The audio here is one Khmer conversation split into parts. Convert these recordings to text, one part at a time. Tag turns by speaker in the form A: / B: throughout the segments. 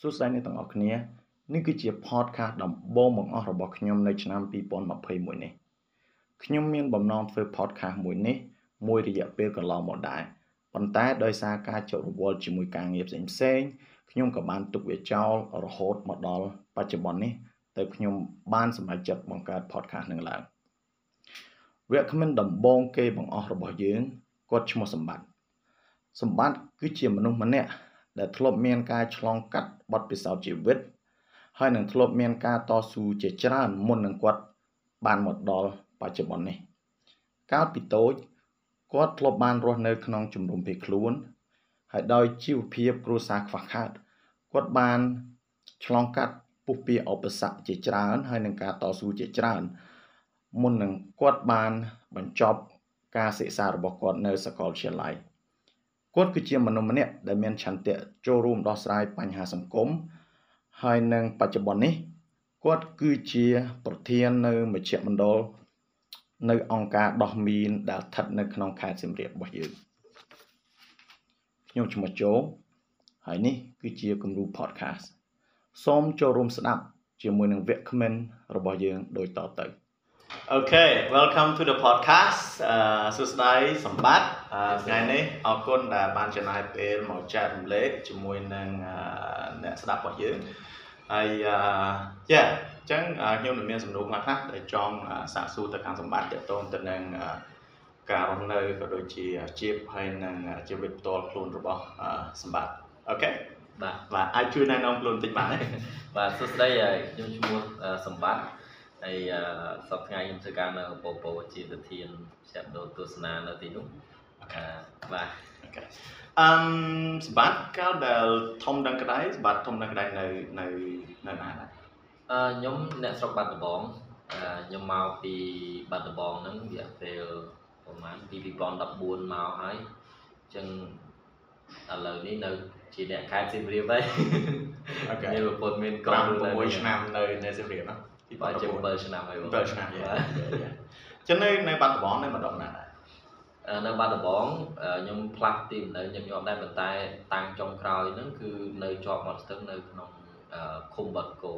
A: សួស្តីអ្នកទាំងអស់គ្នា នេះគឺជា podcast ដំបូងបង្អស់របស់ខ្ញុំនៅឆ្នាំ2021នេះខ្ញុំមានបំណងធ្វើ podcast មួយនេះមួយរយៈពេលកន្លងមកដែរប៉ុន្តែដោយសារការចូលរវល់ជាមួយការងារផ្សេងផ្សេងៗខ្ញុំក៏បានទុកវាចោលរហូតមកដល់បច្ចុប្បន្ននេះទើបខ្ញុំបានសម្រេចចិត្តបង្កើត podcast នឹងឡើងវគ្គមិនដំបូងគេបង្អស់របស់យើងគាត់ឈ្មោះសម្បត្តិសម្បត្តិគឺជាមនុស្សម្នាក់ដែលធ្លាប់មានការឆ្លងកាត់បទពិសោធន៍ជីវិត ហើយនឹងធ្លាប់មានការតស៊ូជាច្រើនមុននឹងគាត់បានមកដល់បច្ចុប្បន្ននេះ កាលពីតូចគាត់ធ្លាប់បានរស់នៅក្នុងជំរំភៀសខ្លួន ហើយដោយជីវភាពគ្រួសារខ្វះខាតគាត់បានឆ្លងកាត់ពុះពៀរឧបសគ្គជាច្រើន ហើយនឹងការតស៊ូជាច្រើន មុននឹងគាត់បានបញ្ចប់ការសិក្សារបស់គាត់នៅសាកលវិទ្យាល័យ គាត់គឺជាមនុស្សម្នាក់ដែលមានឆន្ទៈចូលរួមដោះស្រាយបញ្ហាសង្គមហើយនឹងបច្ចុប្បន្ននេះគាត់គឺជាប្រធាននៅមជ្ឈមណ្ឌលនៅអង្គការដោះមីនដែលស្ថិតនៅក្នុងខេត្តសៀមរាបរបស់យើងខ្ញុំឈ្មោះជោហើយនេះគឺជាគំរូ podcast សូមចូលរួមស្ដាប់ជាមួយនឹងវគ្គគ្មិនរបស់យើងដូចតទៅ
B: Okay, welcome to the podcast អឺសួស្តីសម្បត្តិអឺថ្ងៃនេះអរគុណដែលបានចំណាយពេលមកចែករំលែកជាមួយនឹងអឺអ្នកស្ដាប់របស់យើងហើយអឺ yeah អញ្ចឹងអឺខ្ញុំនឹងមានសំណួរខ្លះខ្លះដែលចង់អឺសាកសួរទៅខាងសម្បត្តិទាក់ទងទៅនឹងអឺការរស់នៅក៏ដូចជាអាជីពហើយនឹងអឺជីវិតផ្ទាល់ខ្លួនរបស់អឺសម្បត្តិ Okay
C: បាទ
B: បាទអាចជួយណែនាំខ្លួនបន្តិចបានទេ
C: បាទសួស្តីហើយខ្ញុំឈ្មោះអឺសម្បត្តិហើយអឺសប្តាហ៍ខ្ញុំធ្វើការនៅបបោជាប្រធានជាប់ដោទស្សនានៅទីនោះអឺបាទ
B: អឹមសម្បត្តិកាលដែលធំដឹងក្តីសម្បត្តិធំដឹងក្តីនៅនៅនៅណាដែរ
C: អឺខ្ញុំអ្នកស្រុកបាត់ដំបងអឺខ្ញុំមកពីបាត់ដំបងហ្នឹងរយៈពេលប្រហែលពី2014មកហើយអញ្ចឹងឥឡូវនេះនៅជាអ្នកខេត្តសៀមរាបហើយ
B: អូខេ
C: មានប្រពន្ធមា
B: 5
C: នកូន
B: 6ឆ្នាំនៅនៅសៀមរាបណា
C: ពីបាត់ជា7ឆ្នាំហើយបង
B: 7ឆ្នាំយេ
C: បាទ
B: ចឹងនៅនៅបាត់ដំបងនៅម្ដងណាដែរ
C: អឺនៅបាត់ដំបងអឺខ្ញុំផ្លាស់ទីលំនៅញឹកញាប់ដែរប៉ុន្តែតាំងចុងក្រោយហ្នឹងគឺនៅជាប់មាត់ស្ទឹងនៅក្នុងអឺឃុំបាត់គោ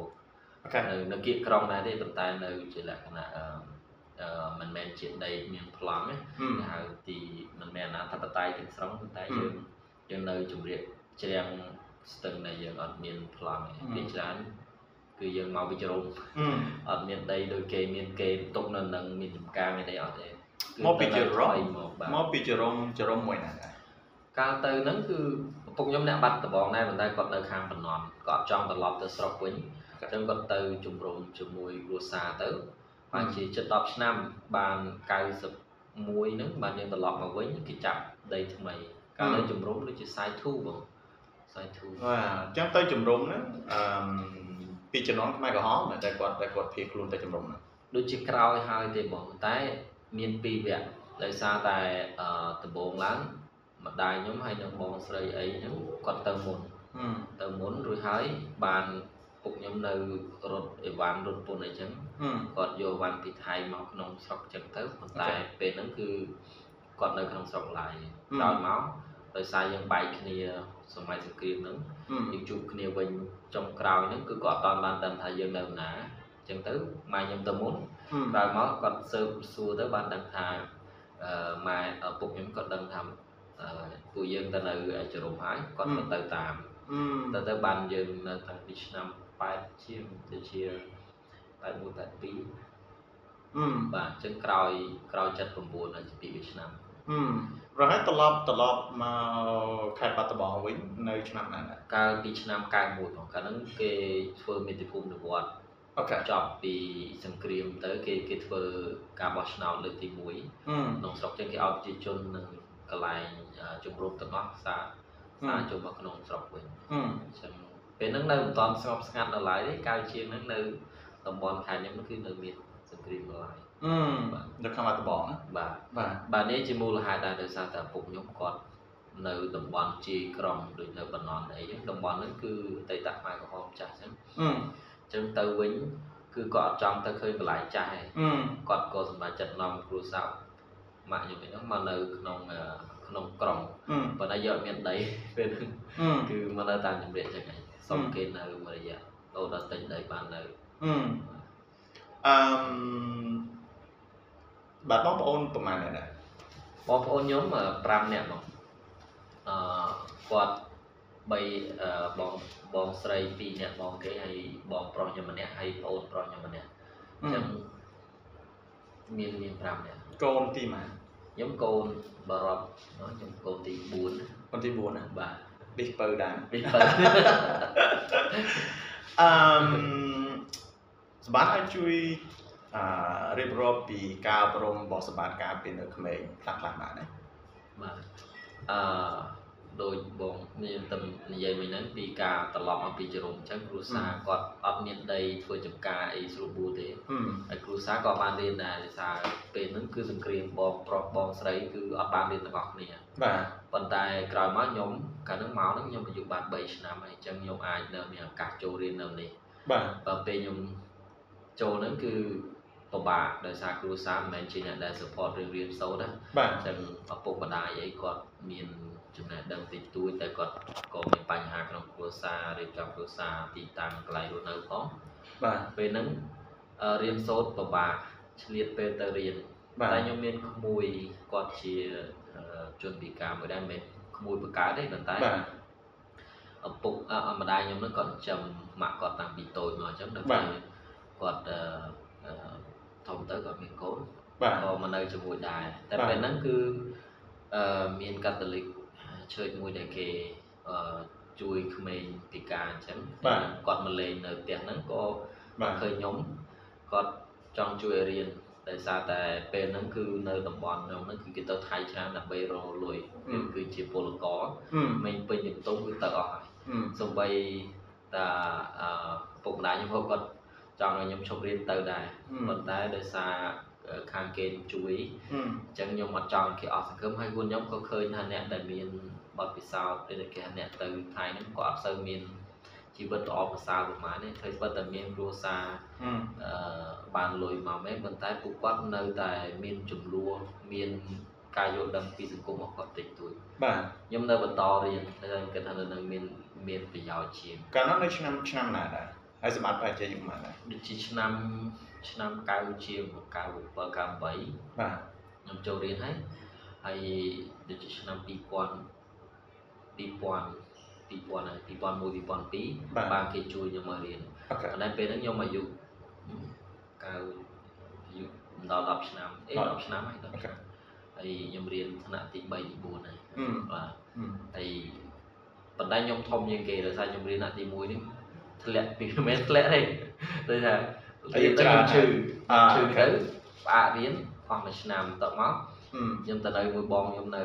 B: អូខេ
C: នៅនៅគៀកក្រុងដែរទេប៉ុន្តែនៅជាលក្ខណៈអឺអឺមិនមែនជាដីមានប្លង់ទេគេហៅទីមិនមែនអធិបតេយ្យទាំងស្រុងប៉ុន្តែយើងយើងនៅជម្រាបជ្រាំងស្ទឹងដែលយើងអត់មានប្លង់ទេភាគច្រើនគឺយើងមកវិជ្រមអត់មានដីដូចគេមានគេផ្ទុកនៅនឹងមានចំការមានអីអត់ទេគឺ
B: មកពីជ
C: នៅ
B: រុំ
C: ថ្មកបាទ
B: មកពីជរុំជរុំមួយណាដែរ
C: កាលទៅហ្នឹងគឺឪពុកខ្ញុំអ្នកបាត់ដំបងដែរប៉ុន្តែគាត់នៅខាងបណ្ណំគាត់ចង់ត្រឡប់ទៅស្រុកវិញអញ្ចឹងគាត់ទៅជំរុំជាមួយគ្រួសារទៅបានជាជិត10ឆ្នាំបាន91ហ្នឹងបានយើងត្រឡប់មកវិញគេចាប់ដីថ្មីកាលនៅជំរុំដូចជាសាយធូបងសាយធូ
B: បាទចឹងទៅជំរុំហ្នឹងអឹមពីជំនាន់ខ្មែរក្រហមដែលគាត់ដែលគាត់ភៀសខ្លួនទៅជំរុំហ្នឹង
C: ដូចជាក្រោយហើយទេបងប៉ុន្តែមានពីរវគ្គដោយសារតែអឺដំបងឡើងម្ដាយខ្ញុំហើយនិងបងស្រីអីហ្នឹងគាត់ទៅមុន ទៅមុនរួចហើយបានពុកខ្ញុំនៅរត់អីវ៉ាន់រត់ពុនអីចឹង
B: ហឹម
C: គាត់យកវ៉ាន់ពីថៃមកក្នុងស្រុកចឹងទៅប៉ុន្តែ
B: Okay.
C: ពេលហ្នឹងគឺគាត់នៅក្នុងស្រុកឡាយ
B: ហឹម
C: ក្រោយមកដោយសារយើងបែកគ្នាសម័យសង្គ្រាមហ្នឹង
B: ហឹម
C: យើងជួបគ្នាវិញចុងក្រោយហ្នឹងគឺគាត់អត់បានដឹងថាយើងនៅណាចឹងទៅម៉ែខ្ញុំទៅមុន ក្រោយមកគាត់ស៊ើបសួរទៅបានដឹងថាអឺម៉ែឪពុកខ្ញុំគាត់ដឹងថាអឺពួកយើងទៅនៅជរុំហើយគាត់
B: ហឹម
C: ក៏ទៅតាម
B: ហឹម
C: ទៅទៅបានយើងនៅតាំងពីឆ្នាំ8ជាងទៅជា81 82
B: ហឹម
C: បាទអញ្ចឹងក្រោយក្រោយ79ដល់2ឆ្នាំ
B: ហឹមរហូតត្រឡប់ត្រឡប់មកខេត្តបាត់ដំបងវិញនៅឆ្នាំណាដែរ
C: កាលពីឆ្នាំ91ផងកាលហ្នឹងគេធ្វើមេតិភូមិនិវត្តន៍
B: អូខេ
C: ចប់ពីសង្គ្រាមទៅគេគេធ្វើការបោះឆ្នោតលើកទី1
B: ហឹម
C: ក្នុងស្រុកចឹងគេឲ្យប្រជាជននៅកន្លែងអឺជំរុំទាំងអស់សា
B: ហឹម
C: សាចូលមកក្នុងស្រុកវិញ
B: ហឹម
C: អញ្ចឹងពេលហ្នឹងនៅមិនតាន់ស្ងប់ស្ងាត់ដល់ឡើយទេកាលវិជាហ្នឹងនៅតំបន់ខេត្តខ្ញុំហ្នឹងគឺនៅមានសង្គ្រាមដល់
B: ហឹម
C: ឡើយ
B: នៅខេត្តបាត់ដំបងណា
C: បាទ
B: បាទ
C: បាទនេះជាមូលហេតុដែរដោយសារតែឪពុកខ្ញុំគាត់នៅតំបន់ជាយក្រុងដូចនៅបណ្ណន់អីចឹងតំបន់ហ្នឹងគឺអតីតខ្មែរក្រហមចាស់ចឹង
B: អឺ
C: ចឹងទៅវិញគឺគាត់អត់ចង់ទៅឃើញកន្លែងចាស់ឯង
B: អឺ
C: គាត់ក៏សម្រេចចិត្តនាំគ្រួសារម៉ាក់ខ្ញុំឯនោះមកនៅក្នុងអឺក្នុងក្រុង
B: អឺ
C: ប៉ុន្តែយើងអត់មានដីពេលហ្នឹង
B: អឺ
C: គឺមកនៅតាមជំរាបចឹងឯង សុំគេនៅមួយរយៈទៅដល់ទិញដីបាននៅ
B: អឺអឺបាទបងប្អូនប្រហែលអ្នកដែរ
C: បងប្អូនខ្ញុំ5នាក់បងអឺគាត់3បងបងស្រី2នាក់បងគេហើយបងប្រុសខ្ញុំម្នាក់ហើយប្អូនប្រុសខ្ញុំម្នាក់អញ្ចឹងមានមាន5នាក់
B: កូនទីម៉ា
C: ខ្ញុំកូនបរប់ខ្ញុំកូនទី4
B: កូនទី4ណា
C: បាទ
B: បេះបើដែរ
C: ពីបើ
B: អឺសម្បត្តិអាចជួយអឺរៀបរាប់ពីការអប់រំរបស់សម្បត្តិការពីនៅក្មេងខ្លះខ្លះបានណា
C: បាទអឺដោយបងមានតែនិយាយមិញហ្នឹងពីការត្រឡប់មកពីជ្រុំអញ្ចឹងគ្រូសាគាត់អត់មានដីធ្វើចំការអីស្រួលបួលទេហើយគ្រូសាក៏បានរៀនដែរដោយសារពេលហ្នឹងគឺសង្គ្រាមបងប្រុសបងស្រីគឺអត់បានរៀនទាំងអស់គ្នា
B: បាទ
C: ប៉ុន្តែក្រោយមកខ្ញុំកាលហ្នឹងមកហ្នឹងខ្ញុំអាយុបាន3ឆ្នាំហើយអញ្ចឹងខ្ញុំអាចនៅមានឱកាសចូលរៀននៅនេះ
B: បាទ
C: បើពេលខ្ញុំចូលហ្នឹងគឺពិបាកដោយសារគ្រូសាមិនមែនជាអ្នកដែល support រឿងរៀនសូត្រណា
B: បាទ
C: អញ្ចឹងឪពុកម្ដាយអីគាត់មានចំណេះដឹងតិចតួចតែគាត់ក៏មានបញ្ហាក្នុងគ្រួសាររៀបចំគ្រួសារទីតាំងកន្លែងរស់នៅផង
B: បាទ
C: ពេលហ្នឹងរៀនសូត្រពិបាកឆ្លៀតពេលទៅរៀន
B: បាទ
C: តែខ្ញុំមានក្មួយគាត់ជាជនពិការមួយដែរមិនមែនក្មួយបង្កើតទេប៉ុន្តែ
B: បាទ
C: ឪពុកម្ដាយខ្ញុំហ្នឹងគាត់ចិញ្ចឹមម៉ាក់គាត់តាំងពីតូចមកអញ្ចឹងដល់ពេលគាត់ធំទៅគាត់មានកូន
B: បាទ
C: ក៏មកនៅជាមួយដែរតែពេលហ្នឹងគឺអឺមាន Catholic ឈើមួយដែលគេជួយក្មេងពិការអញ្ចឹងគាត់មកលេងនៅផ្ទះហ្នឹងក៏
B: បាទ
C: ឃើញខ្ញុំគាត់ចង់ជួយរៀនដោយសារតែពេលហ្នឹងគឺនៅតំបន់ខ្ញុំហ្នឹងគឺគេទៅថៃច្រើនដើម្បីរកលុយគឺជាពលករក្មេងពេញជំទង់គឺទៅអស់ហើយសម្បីតាអឺពុកម្ដាយខ្ញុំគាត់ចង់ឲ្យខ្ញុំឈប់រៀនទៅដែរប៉ុន្តែដោយសារខាងគេជួយ
B: អ
C: ញ្ចឹងខ្ញុំអត់ចង់គេអស់សង្ឃឹមហើយខ្លួនខ្ញុំក៏ឃើញថាអ្នកដែលមានបទពិសោធន៍ដូចគេអ្នកទៅថៃហ្នឹងក៏អត់សូវមានជីវិតល្អប្រសើរប៉ុន្មានទេឃើញបើតែមានគ្រួសារអឺបានលុយមកមែនប៉ុន្តែពួកគាត់នៅតែមានចំនួនមានការយល់ដឹងពីសង្គមរបស់គាត់តិចតួច
B: បាទ
C: ខ្ញុំនៅបន្តរៀនតែខ្ញុំគិតថានៅនឹងមានមានប្រយោជន៍ជាង
B: កាលនោះនៅឆ្នាំឆ្នាំណាដែរហើយសម្បត្តិបច្ចេកយុគមកដែរ
C: ដូចជាឆ្នាំឆ្នាំ90ជាង97 98
B: បាទ
C: ខ្ញុំចូលរៀនហើយហើយដូចជាឆ្នាំ2000 2000 2000 2001 2002បានគេជួយខ្ញុំមករៀន
B: អូខេ
C: ប៉ុន្តែពេលហ្នឹងខ្ញុំអាយុ9អាយុដល់10ឆ្នាំអេ10ឆ្នាំហើយដល់
B: អូខេ
C: ហើយខ្ញុំរៀនថ្នាក់ទី3ទី4ហើយ
B: អឺ
C: បាទហើយប៉ុន្តែខ្ញុំធំជាងគេដោយសារខ្ញុំរៀនថ្នាក់ទី1នេះធ្លាក់ពីមិនមែនធ្លាក់ទេ ដូចថា
B: ហើយច្រើនឈឺ
C: ឈឺ
B: អ
C: ឈឺ
B: ឺ
C: ទៅផ្អាករៀនអស់មួយឆ្នាំតមក
B: អឺ
C: ខ្ញុំទៅនៅមួយបងខ្ញុំនៅ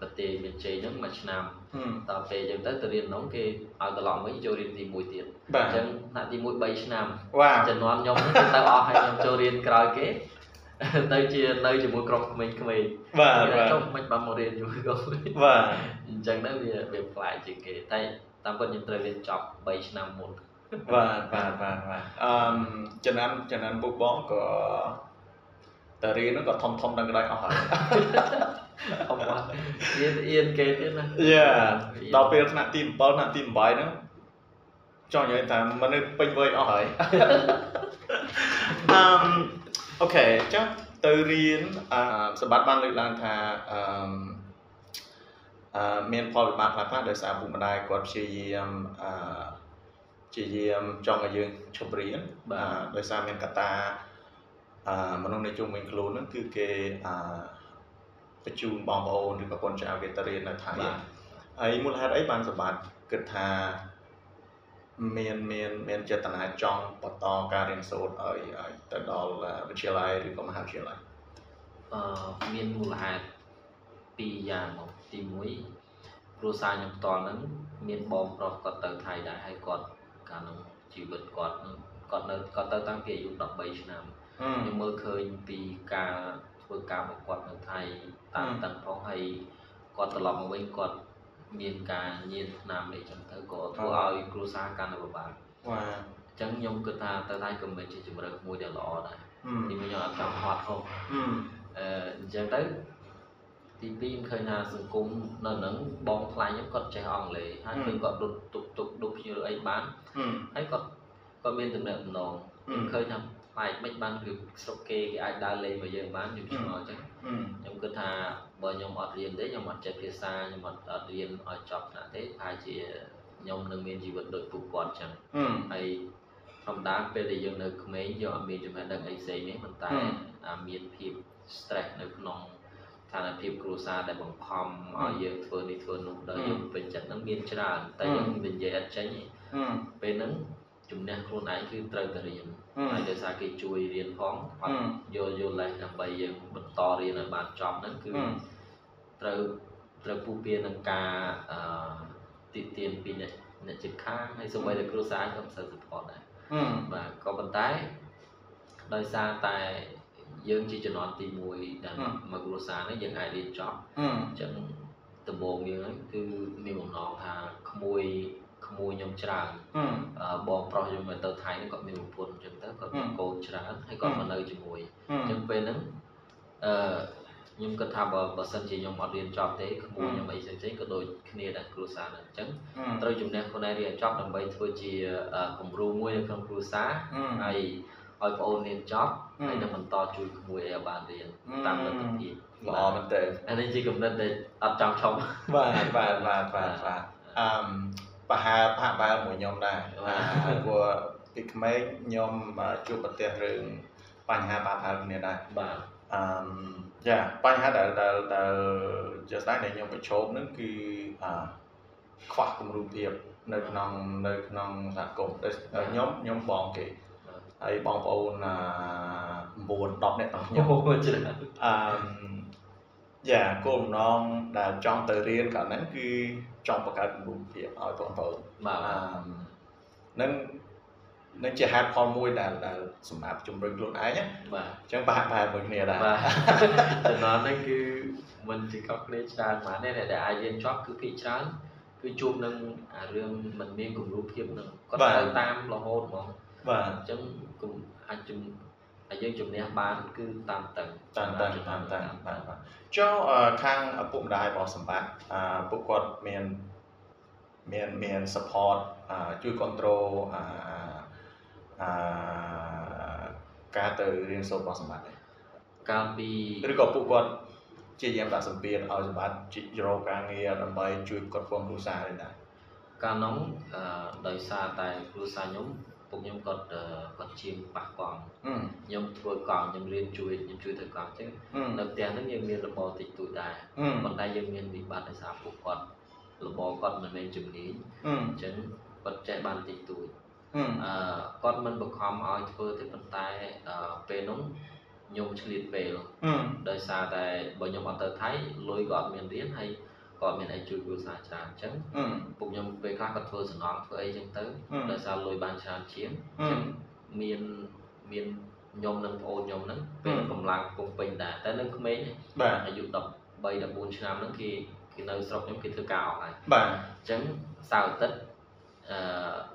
C: ប្រទេសមានជ័យហ្នឹងមួយឆ្នាំ
B: អឺ
C: តពេលយើងទៅទៅរៀនក្នុងគេឲ្យត្រឡប់វិញចូលរៀនទី1ទៀត
B: បាទ
C: អញ្ចឹងថ្នាក់ទី1 3ឆ្នាំ
B: វ៉ាវ
C: ចំនួនខ្ញុំហ្នឹងគឺទៅអស់ហើយខ្ញុំចូលរៀនក្រោយគេ ទៅជានៅជាមួយក្រុមក្មេងៗបាទ
B: បាទបាទ
C: ចុះមិនបានមករៀនជាមួយក្រុមក្មេង
B: បាទ
C: អញ្ចឹងទៅវាវាប្លែកជាងគេតែតាមពិតខ្ញុំត្រូវរៀនចប់3ឆ្នាំមុន
B: បាទបាទបាទបាទអឺចំណាំចំណាំពុកបងក៏តរៀនហ្នឹងក៏ធំធំដល់ក្រោយអស់ហើយ
C: អមអត់ រៀនអៀនគេទៀតណា
B: យ៉ាដល់ពេលថ្នាក់ទី7ថ្នាក់ទី8ហ្នឹងចង់និយាយថាមនុស្សពេញវ័យអស់ហើយ អឺអូខេចុះទៅរៀនអឺសម្បត្តិបានលើកឡើងថាអឺអឺមានផលវិបាកខ្លះខ្លះដោយសារឪពុកម្ដាយគាត់ព្យាយាមអឺព្យាយាមចង់ឲ្យយើងឈប់រៀន
C: បា
B: បាទ
C: ទ
B: ដោយសារមានកត្តាអឺមនុស្សនៅជុំវិញខ្លួនហ្នឹងគឺគេអឺបញ្ជូនបងប្អូនឬប្រពន្ធចៅវាទៅរៀននៅថៃ
C: បាទ
B: ហើយមូលហេតុអីបានសម្បត្តិគិតថាមានមានមានចេតនាចង់បន្តការរៀនសូត្រឲ្យឲ្យទៅដល់វិទ្យាល័យឬក៏មហាវិទ្យាល័យ
C: អឺមានមូលហេតុពីរយ៉ាងមកទី1គ្រួសារខ្ញុំផ្ទាល់ហ្នឹងមានបងប្រុសគាត់ទៅថៃដែរហើយគាត់កាលហ្នឹងជីវិតគាត់ហ្នឹងគាត់នៅគាត់ទៅតាំងពីអាយុ13ឆ្នាំ ខ្ញុំមើលឃើញពីការធ្វើការរបស់គាត់នៅថៃតាំងតឹងផងហើយគាត់ត្រឡប់មកវិញគាត់មានការញៀនថ្នាំអីចឹងទៅក៏ធ្វើឲ្យគ្រួសារកាន់តែពិបាក
B: វ៉ា
C: អញ្ចឹងខ្ញុំគិតថាទៅថៃក៏មិនជាជម្រើសមួយដែលល្អដែរ
B: អឺ
C: នេះខ្ញុំអត់ចង់ហត់ផង
B: អឺ
C: អឺអញ្ចឹងទៅ ទី2ខ្ញុំឃើញថាសង្គមនៅហ្នឹងបងថ្លៃខ្ញុំគាត់ចេះអង់គ្លេសហើយ
B: ហឹម
C: ឃើញគាត់រត់ទុកទុកដូចភ្ញៀវអីបាន
B: ហឹម
C: ហើយគាត់គាត់មានទំនាក់ទំនង
B: ហឹម
C: ខ្ញុំឃើញថាផ្លែកមិនបានគឺស្រុកគេគេអាចដើរលេងមកយើងបានខ្ញុំឆ្ងល់ចឹង
B: ហឹម
C: ខ្ញុំគិតថាបើខ្ញុំអត់រៀនទេខ្ញុំអត់ចេះភាសាខ្ញុំអត់អត់រៀនឲ្យចប់ថ្នាក់ទេប្រហែលជាខ្ញុំនឹងមានជីវិតដូចពួកគាត់ចឹង
B: ហឹម
C: ហើយធម្មតាពេលដែលយើងនៅក្មេងយើងអត់មានចំណេះដឹងអីផ្សេងទេប៉ុន្តែ
B: ហឹម
C: អាមានភាព stress នៅក្នុងស្ថានភាពគ្រួសារដែលបង្ខំឲ្យយើងធ្វើនេះធ្វើនោះដល់
B: ហឹ
C: យើ
B: ម
C: ងពេញចិត្តហ្នឹងមានច្រើនតែ
B: ហឹ
C: យើ
B: ម
C: ងនិយាយអត់ចេញទេ
B: ហឹម
C: ពេលហ្នឹងជំនះខ្លួនឯងគឺត្រូវតែរៀន
B: ហឹម
C: ហើយដោយសារគេជួយរៀនផងអត់
B: ហឹម
C: យកយកលេសដើម្បីយើងបន្តរៀនឲ្យបានចប់ហ្នឹងគឺ
B: ហឹម
C: ត្រូវត្រូវពុះពៀរនឹងការអឺទីទានពីអ្នកអ្នកជិតខាងហើយសូម្បីតែគ្រួសារក៏មិនសូវ support ដែរ
B: ហឹម
C: បាទក៏ប៉ុន្តែដោយសារតែយើងជាជំនាន់ទី1ដែល
B: ហឹម
C: មកគ្រួសារនេះយើងអាចរៀនចប់
B: ហឹម
C: អញ្ចឹងដំបូងយើងហ្នឹងគឺមានបំណងថាក្មួយក្មួយខ្ញុំច្រើន
B: ហឹម
C: អឺបងប្រុសខ្ញុំមកទៅថៃហ្នឹងគាត់មានប្រពន្ធអញ្ចឹងទៅគាត់មាន
B: ហឹម
C: កូនច្រើនហើយគាត់
B: ហឹ
C: ម
B: ម
C: កនៅជាមួយ
B: ហឹម
C: អញ្ចឹងពេលហ្នឹងអឺខ្ញុំគិតថាបើបើសិនជាខ្ញុំអត់រៀនចប់ទេក្មួយ
B: ហឹម
C: ខ្ញុំអីផ្សេងៗក៏ដូចគ្នាដែរគ្រួសារហ្នឹងអញ្ចឹង
B: ហឹម
C: ត្រូវជំនះខ្លួនឯងរៀនឲ្យចប់ដើម្បីធ្វើជាអឺគំរូមួយនៅក្នុងគ្រួសារ ហើយឲ្យបងអូនរៀនចប់
B: ហឹម
C: ហើយនឹងបន្តជួយក្មួយឲ្យបានរៀន
B: ហឹម
C: តាមលទ្ធភាព
B: ល្អមែនទែន
C: អានេះជាគំនិតដែលអត់ចង់ឈប់
B: បាទបាទបាទបាទបាទអឺមប្រហែលប្រហែលបែបមួយខ្ញុំដែរ
C: បាទ
B: អាព្រោះពីក្មេងខ្ញុំអឺជួបប្រទះរឿងបញ្ហាបាក់បែបគ្នាដែរ
C: បាទ
B: អឺមយ៉ាបញ្ហាដែលដែលដែលជាក់ស្ដែងដែលខ្ញុំប្រឈមហ្នឹងគឺអាខ្វះគំរូភាពនៅក្នុងនៅក្នុងសហគមន៍ដូចខ្ញុំខ្ញុំបងគេហើយបងប្អូនអា9 10នាក់ទាំងខ្ញុំ
C: អូច្រើន
B: អឺយ៉ាគោលបំណងដែលចង់ទៅរៀនកាលហ្នឹងគឺចង់បង្កើតគំរូភាពឲ្យបងប្អូន
C: បាទ
B: អឺមនឹងនឹងជាហេតុផលមួយដែលដែលសម្រាប់ជំរុញខ្លួនឯងណាអ
C: បាទ
B: ញ្ចឹងប្រហែលប្រហែលមួយគ្នាដែរ
C: បាទដំណរនេះគឺមិនជាកប់គ្នាច្រើនប៉ុន្មានទេដែលអាចរៀនចប់គឺភាគច្រើនគឺជួបនឹងអារឿងមិនមានគំរូភាពនឹងគាត់
B: បាទ
C: ទៅតាមរហូតហ្មង
B: បាទ
C: អញ្ចឹងគំអាចជំអាចយើងជំនះបានគឺតាមតឹង
B: តាមតាំងតាមតាំងបាទបាទចុះអឺខាងឪពុកម្ដាយរបស់សម្បត្តិអឺពួកគាត់មានមានមាន support អឺជួយ control អឺអឺការទៅរៀនសូត្ររបស់សម្បត្តិដែរ
C: កាលពី
B: ឬក៏ពួកគាត់ជាយ៉ាងដាក់សម្ពាធឲ្យសម្បត្តិជីករកការងារដើម្បីជួយគ្រប់គ្រងគ្រួសារនេះដែរ
C: កាលនោះអឺដោយសារតែគ្រូសាស្ត្រខ្ញុំពុកខ្ញុំគាត់អឺគាត់ជាងប៉ះកង់
B: ហឹម
C: ខ្ញុំធ្វើកង់ខ្ញុំរៀនជួយខ្ញុំជួយធ្វើកង់អញ្ចឹង
B: ហឹម
C: នៅផ្ទះហ្នឹងយើងមានរបរតិចតួចដែរ
B: ហឹម
C: ប៉ុន្តែយើងមានវិបត្តិដោយសារពួកគាត់របរគាត់មិនមានជំនាញ
B: ហឹម
C: អញ្ចឹងគាត់ចេះបានតិចតួច
B: ហឹម
C: អឺគាត់មិនបង្ខំឲ្យធ្វើទេប៉ុន្តែអឺពេលនោះខ្ញុំឆ្លៀតពេល
B: ហឹម
C: ដោយសារតែបើខ្ញុំអត់ទៅថៃលុយក៏អត់មានរៀនហើយក៏អត់មានអីជួយគ្រូសាស្ត្រច្រើនអញ្ចឹង
B: ហឹម
C: ពួកខ្ញុំពេលខ្លះគាត់ធ្វើសំណងធ្វើអីចឹងទៅ
B: ហឹម
C: ដោយសារលុយបានច្រើនជាង
B: ហឹម
C: មានមានខ្ញុំនិងប្អូនខ្ញុំហ្នឹងពេល
B: ហឹម
C: កម្លាំងពុំពេញដែរតែនៅក្មេង
B: បាទ
C: អាយុ13 14ឆ្នាំហ្នឹងគេគេនៅស្រុកខ្ញុំគេធ្វើការអស់ហើយ
B: បាទ
C: អញ្ចឹងសៅរ៍អាទិត្យអឺ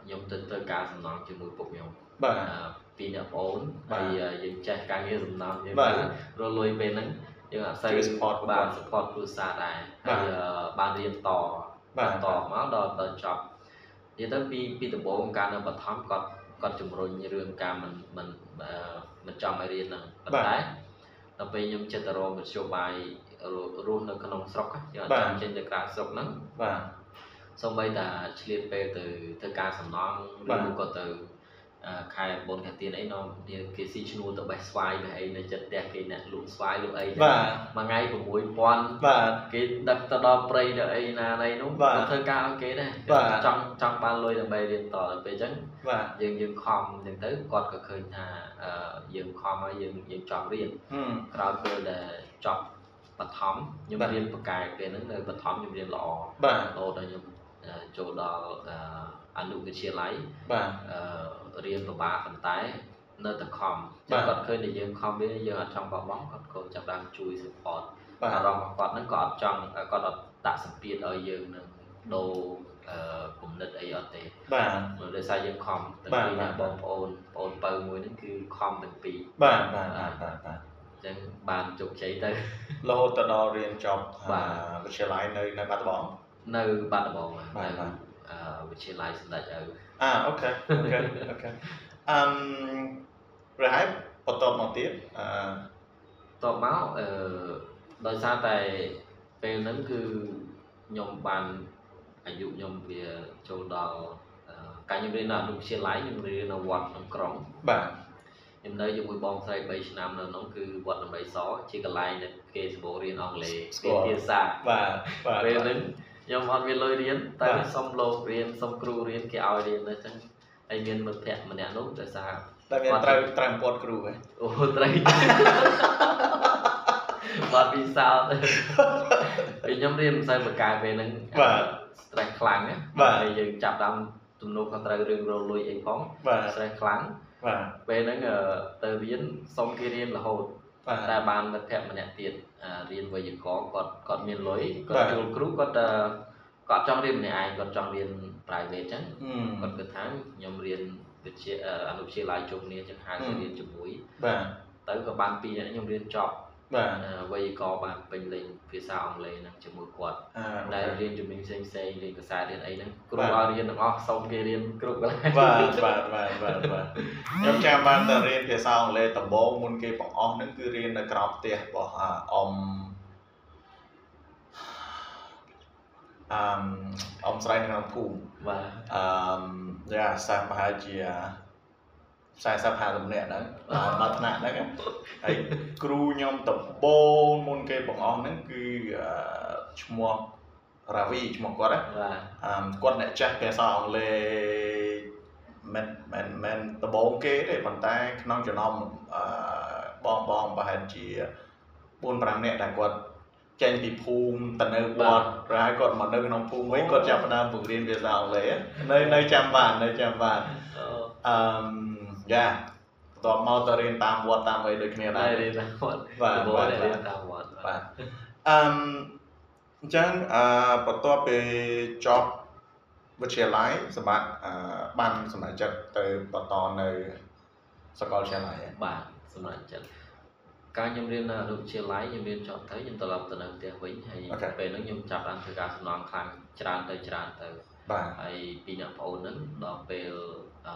C: ខ្ញុំទៅធ្វើការសំណងជាមួយពុកខ្ញុំ
B: បាទ
C: អឺពីរអ្នកប្អូន
B: បាទ
C: ហើយអឺយើងចេះការងារសំណងយើង
B: បាទ
C: រលុយពេលហ្នឹងយើងអត់សូវ
B: ជួយ support ពួក
C: បា
B: គាត់
C: ន support គ្រួសារដែរ
B: បាទ
C: ហើយអឺបានរៀនត
B: បាទ
C: តមកដល់ដល់ចប់និយាយទៅពីពីដំបូងការនៅបឋមគាត់គាត់ជំរុញរឿងការមិនមិនអឺមិនចង់ឲ្យរៀនហ្នឹងប៉ុន្តែដល់ពេលខ្ញុំចិត្តទៅរងមធ្យោបាយររស់នៅក្នុងស្រុកហ៎យើងអត់ចង់ចេញទៅក្រៅស្រុកហ្នឹង
B: បាទ
C: សូម្បីតាឆ្លៀតពេលទៅធ្វើការសំណង់
B: បាទ
C: ឬក៏ទៅអឺខែបុណ្យខែទានអីនាំគ្នាគេស៊ីឈ្នួលទៅបេះស្វាយបេះអីនៅចិត្តផ្ទះគេអ្នកលក់ស្វាយលក់អី
B: បាទ
C: មួយថ្ងៃ6000
B: បាទ
C: គេដឹកទៅដល់ព្រៃដល់អីណាណីនោះ
B: បាទ
C: ក៏ធ្វើការឲ្យគេដែរ
B: បាទ
C: ចង់ចង់បានលុយដើម្បីរៀនតដល់ពេលអញ្ចឹង
B: បាទ
C: យើងយើងខំអញ្ចឹងទៅគាត់ក៏ឃើញថាអឺយើងខំហើយយើងយើងចង់រៀន
B: ហឹម
C: ក្រោយពេលដែលចប់បឋមខ្ញុំ
B: បាទ
C: រៀនបកែកពេលហ្នឹងនៅបឋមខ្ញុំរៀនល្អ
B: បាទ
C: រហូតដល់ខ្ញុំអឺចូលដល់អឺអនុវិទ្យាល័យ
B: បាទ
C: អឺរៀនពិបាកប៉ុន្តែនៅតែខំ
B: បាទ
C: គាត់ឃើញតែយើងខំវាយើងអត់ចង់បោះបង់គាត់ក៏ចាប់ផ្ដើមជួយ support
B: បាទ
C: អារម្មណ៍របស់គាត់ហ្នឹងក៏អត់ចង់គាត់អត់ដាក់សម្ពាធឲ្យយើងនឹងដូរអឺគំនិតអីអត់ទេ
B: បាទ
C: ព្រោះដោយសារយើងខំទាំង
B: បាទ
C: ពីរ
B: បាទ
C: អ្នកបងប្អូនបងប្អូនបើមួយហ្នឹងគឺខំទាំងពីរ
B: បាទបាទបាទបាទបាទ
C: ចឹងបានជោគជ័យទៅ
B: រហូតទៅដល់រៀនចប់
C: បាទ
B: អាវិទ្យាល័យនៅនៅបាត់ដំបង
C: នៅបាត់ដំបងហ្នឹង
B: បាទបាទ
C: អឺវិទ្យាល័យសម្ដេចឪ
B: អាអូខេអូខេអូខេអឹមប្រហែលបន្តមកទៀតអឺ
C: តបមកអឺដោយសារតែពេលហ្នឹងគឺខ្ញុំបានអាយុខ្ញុំវាចូលដល់អឺការខ្ញុំរៀននៅអនុវិទ្យាល័យខ្ញុំរៀននៅវត្តក្នុងក្រុង
B: បាទ
C: ខ្ញុំនៅជាមួយបងស្រី3ឆ្នាំនៅក្នុងគឺវត្តដំរីសជាកន្លែងដែលគេសម្បូររៀនអង់គ្លេស
B: ស្គា
C: ពី
B: ល់
C: ភាសា
B: បាទបាទ
C: ពេល
B: បា
C: ហ្នឹង
B: ទ
C: ខ្ញុំអត់មានលុយរៀនតែ
B: បាទ
C: សុំលោករៀនសុំគ្រូរៀនគេឲ្យរៀននៅចឹងហើយមានមិត្តភក្តិម្នាក់នោះដោយសារ
B: តែមាន
C: គាត់
B: ត្រូវត្រូវពតគ្រូហ៎
C: អូត្រី បាត់ពីសោតពេលខ្ញុំរៀនមិនសូវបកកាយពេលហ្នឹង
B: បាទ
C: stress ខ្លាំងណា
B: បាទ
C: ហើយយើងចាប់ដើមទំនួលខុសត្រូវរឿងរលួយអីផង
B: បាទ
C: stress ខ្លាំង
B: បាទ
C: ពេលហ្នឹងអឺទៅរៀនសុំគេរៀនរហូត
B: បាទ
C: តែបានមិត្តភក្តិម្នាក់ទៀតអឺរៀនវេយ្យាករណ៍គាត់គាត់មានលុយគា
B: បាទ
C: ត់ចូលគ្រូគាត់អឺគាត់ចង់រៀនម្នាក់ឯងគាត់ចង់រៀន private ចឹង
B: ហឹមបា
C: គាត់គិតថាខ្ញុំរៀនវិជ្ជាអឺអនុវិទ្យាល័យជុំគ្នាចឹងហៅទៅរៀនជាមួយ
B: ទ
C: ទៅក៏បានពីរនាក់នេះខ្ញុំរៀនចប់
B: បាទ
C: អឺវេយ្យាករណ៍បានពេញលេងភាសាអង់គ្លេសហ្នឹងជាមួយគាត់
B: អឺ
C: ដែ
B: ដែល ល
C: រៀនជំនាញផ្សេងផ្សេងៗរៀនភាសារៀនអីហ្នឹងគ្រូ
B: បាទ
C: ឲ្យរៀនទាំងអស់សូមគេរៀនគ្រប់កន្លែង
B: បាទបាទបាទបាទបាទខ្ញុំចាំបានតែរៀនភាសាអង់គ្លេសដំបូងមុនគេបង្អស់ហ្នឹងគឺរៀននៅក្រៅផ្ទះរបស់អាអ៊ំអឹមអ៊ំស្រីនៅក្នុងភូមិ
C: បាទ
B: អឺយ៉ាសាមប្រហែលជា40 50នាក់ហ្នឹងដល់ដល់ថ្នាក់ហ្នឹងណាហើយគ្រូខ្ញុំដំបូងមុនគេបងអស់ហ្នឹងគឺអឺឈ្មោះរាវីឈ្មោះគាត់ណា
C: បាទ
B: អឺគាត់អ្នកចេះភាសាអង់គ្លេសមិនមិនមិនដំបូងគេទេប៉ុន្តែក្នុងចំណោមអឺបងបងប្រហែលជា4 5នាក់ដែលគាត់ចេញពីភូមិទៅនៅវត្តប្រហែលគាត់មកនៅក្នុងភូមិវិញគាត់ចាប់ផ្ដើមបង្រៀនភាសាអង់គ្លេសណានៅនៅចាំបាននៅចាំបាន
C: អូ
B: អឺមយ៉ាបន្ទាប់មកទៅរៀនតាមវត្តតាមអីដូចគ្នាដែ
C: តែ
B: រ
C: រៀនតាមវត្ត
B: បាទ
C: ដំបូង
B: បាទបា
C: តែ
B: ទ
C: រៀនតាមវត្ត
B: បាទអឺមអញ្ចឹងអឺបន្ទាប់ពីចប់វិទ្យាល័យសម្បត្តិអឺបានសម្រេចចិត្តទៅបន្តនៅសាកលវិទ្យាល័យហ៎
C: បាទសម្រាប់ចិត្តការខ្ញុំរៀននៅអនុវិទ្យាល័យខ្ញុំរៀនចប់ទៅខ្ញុំត្រឡប់ទៅនៅផ្ទះវិញហើយពេលហ្នឹងខ្ញុំចាប់បានធ្វើការសំណងខ្លាំងច្រើនទៅច្រើនទៅ
B: បាទ
C: ហើយពីអ្នកប្អូនហ្នឹងដល់ពេលអឺ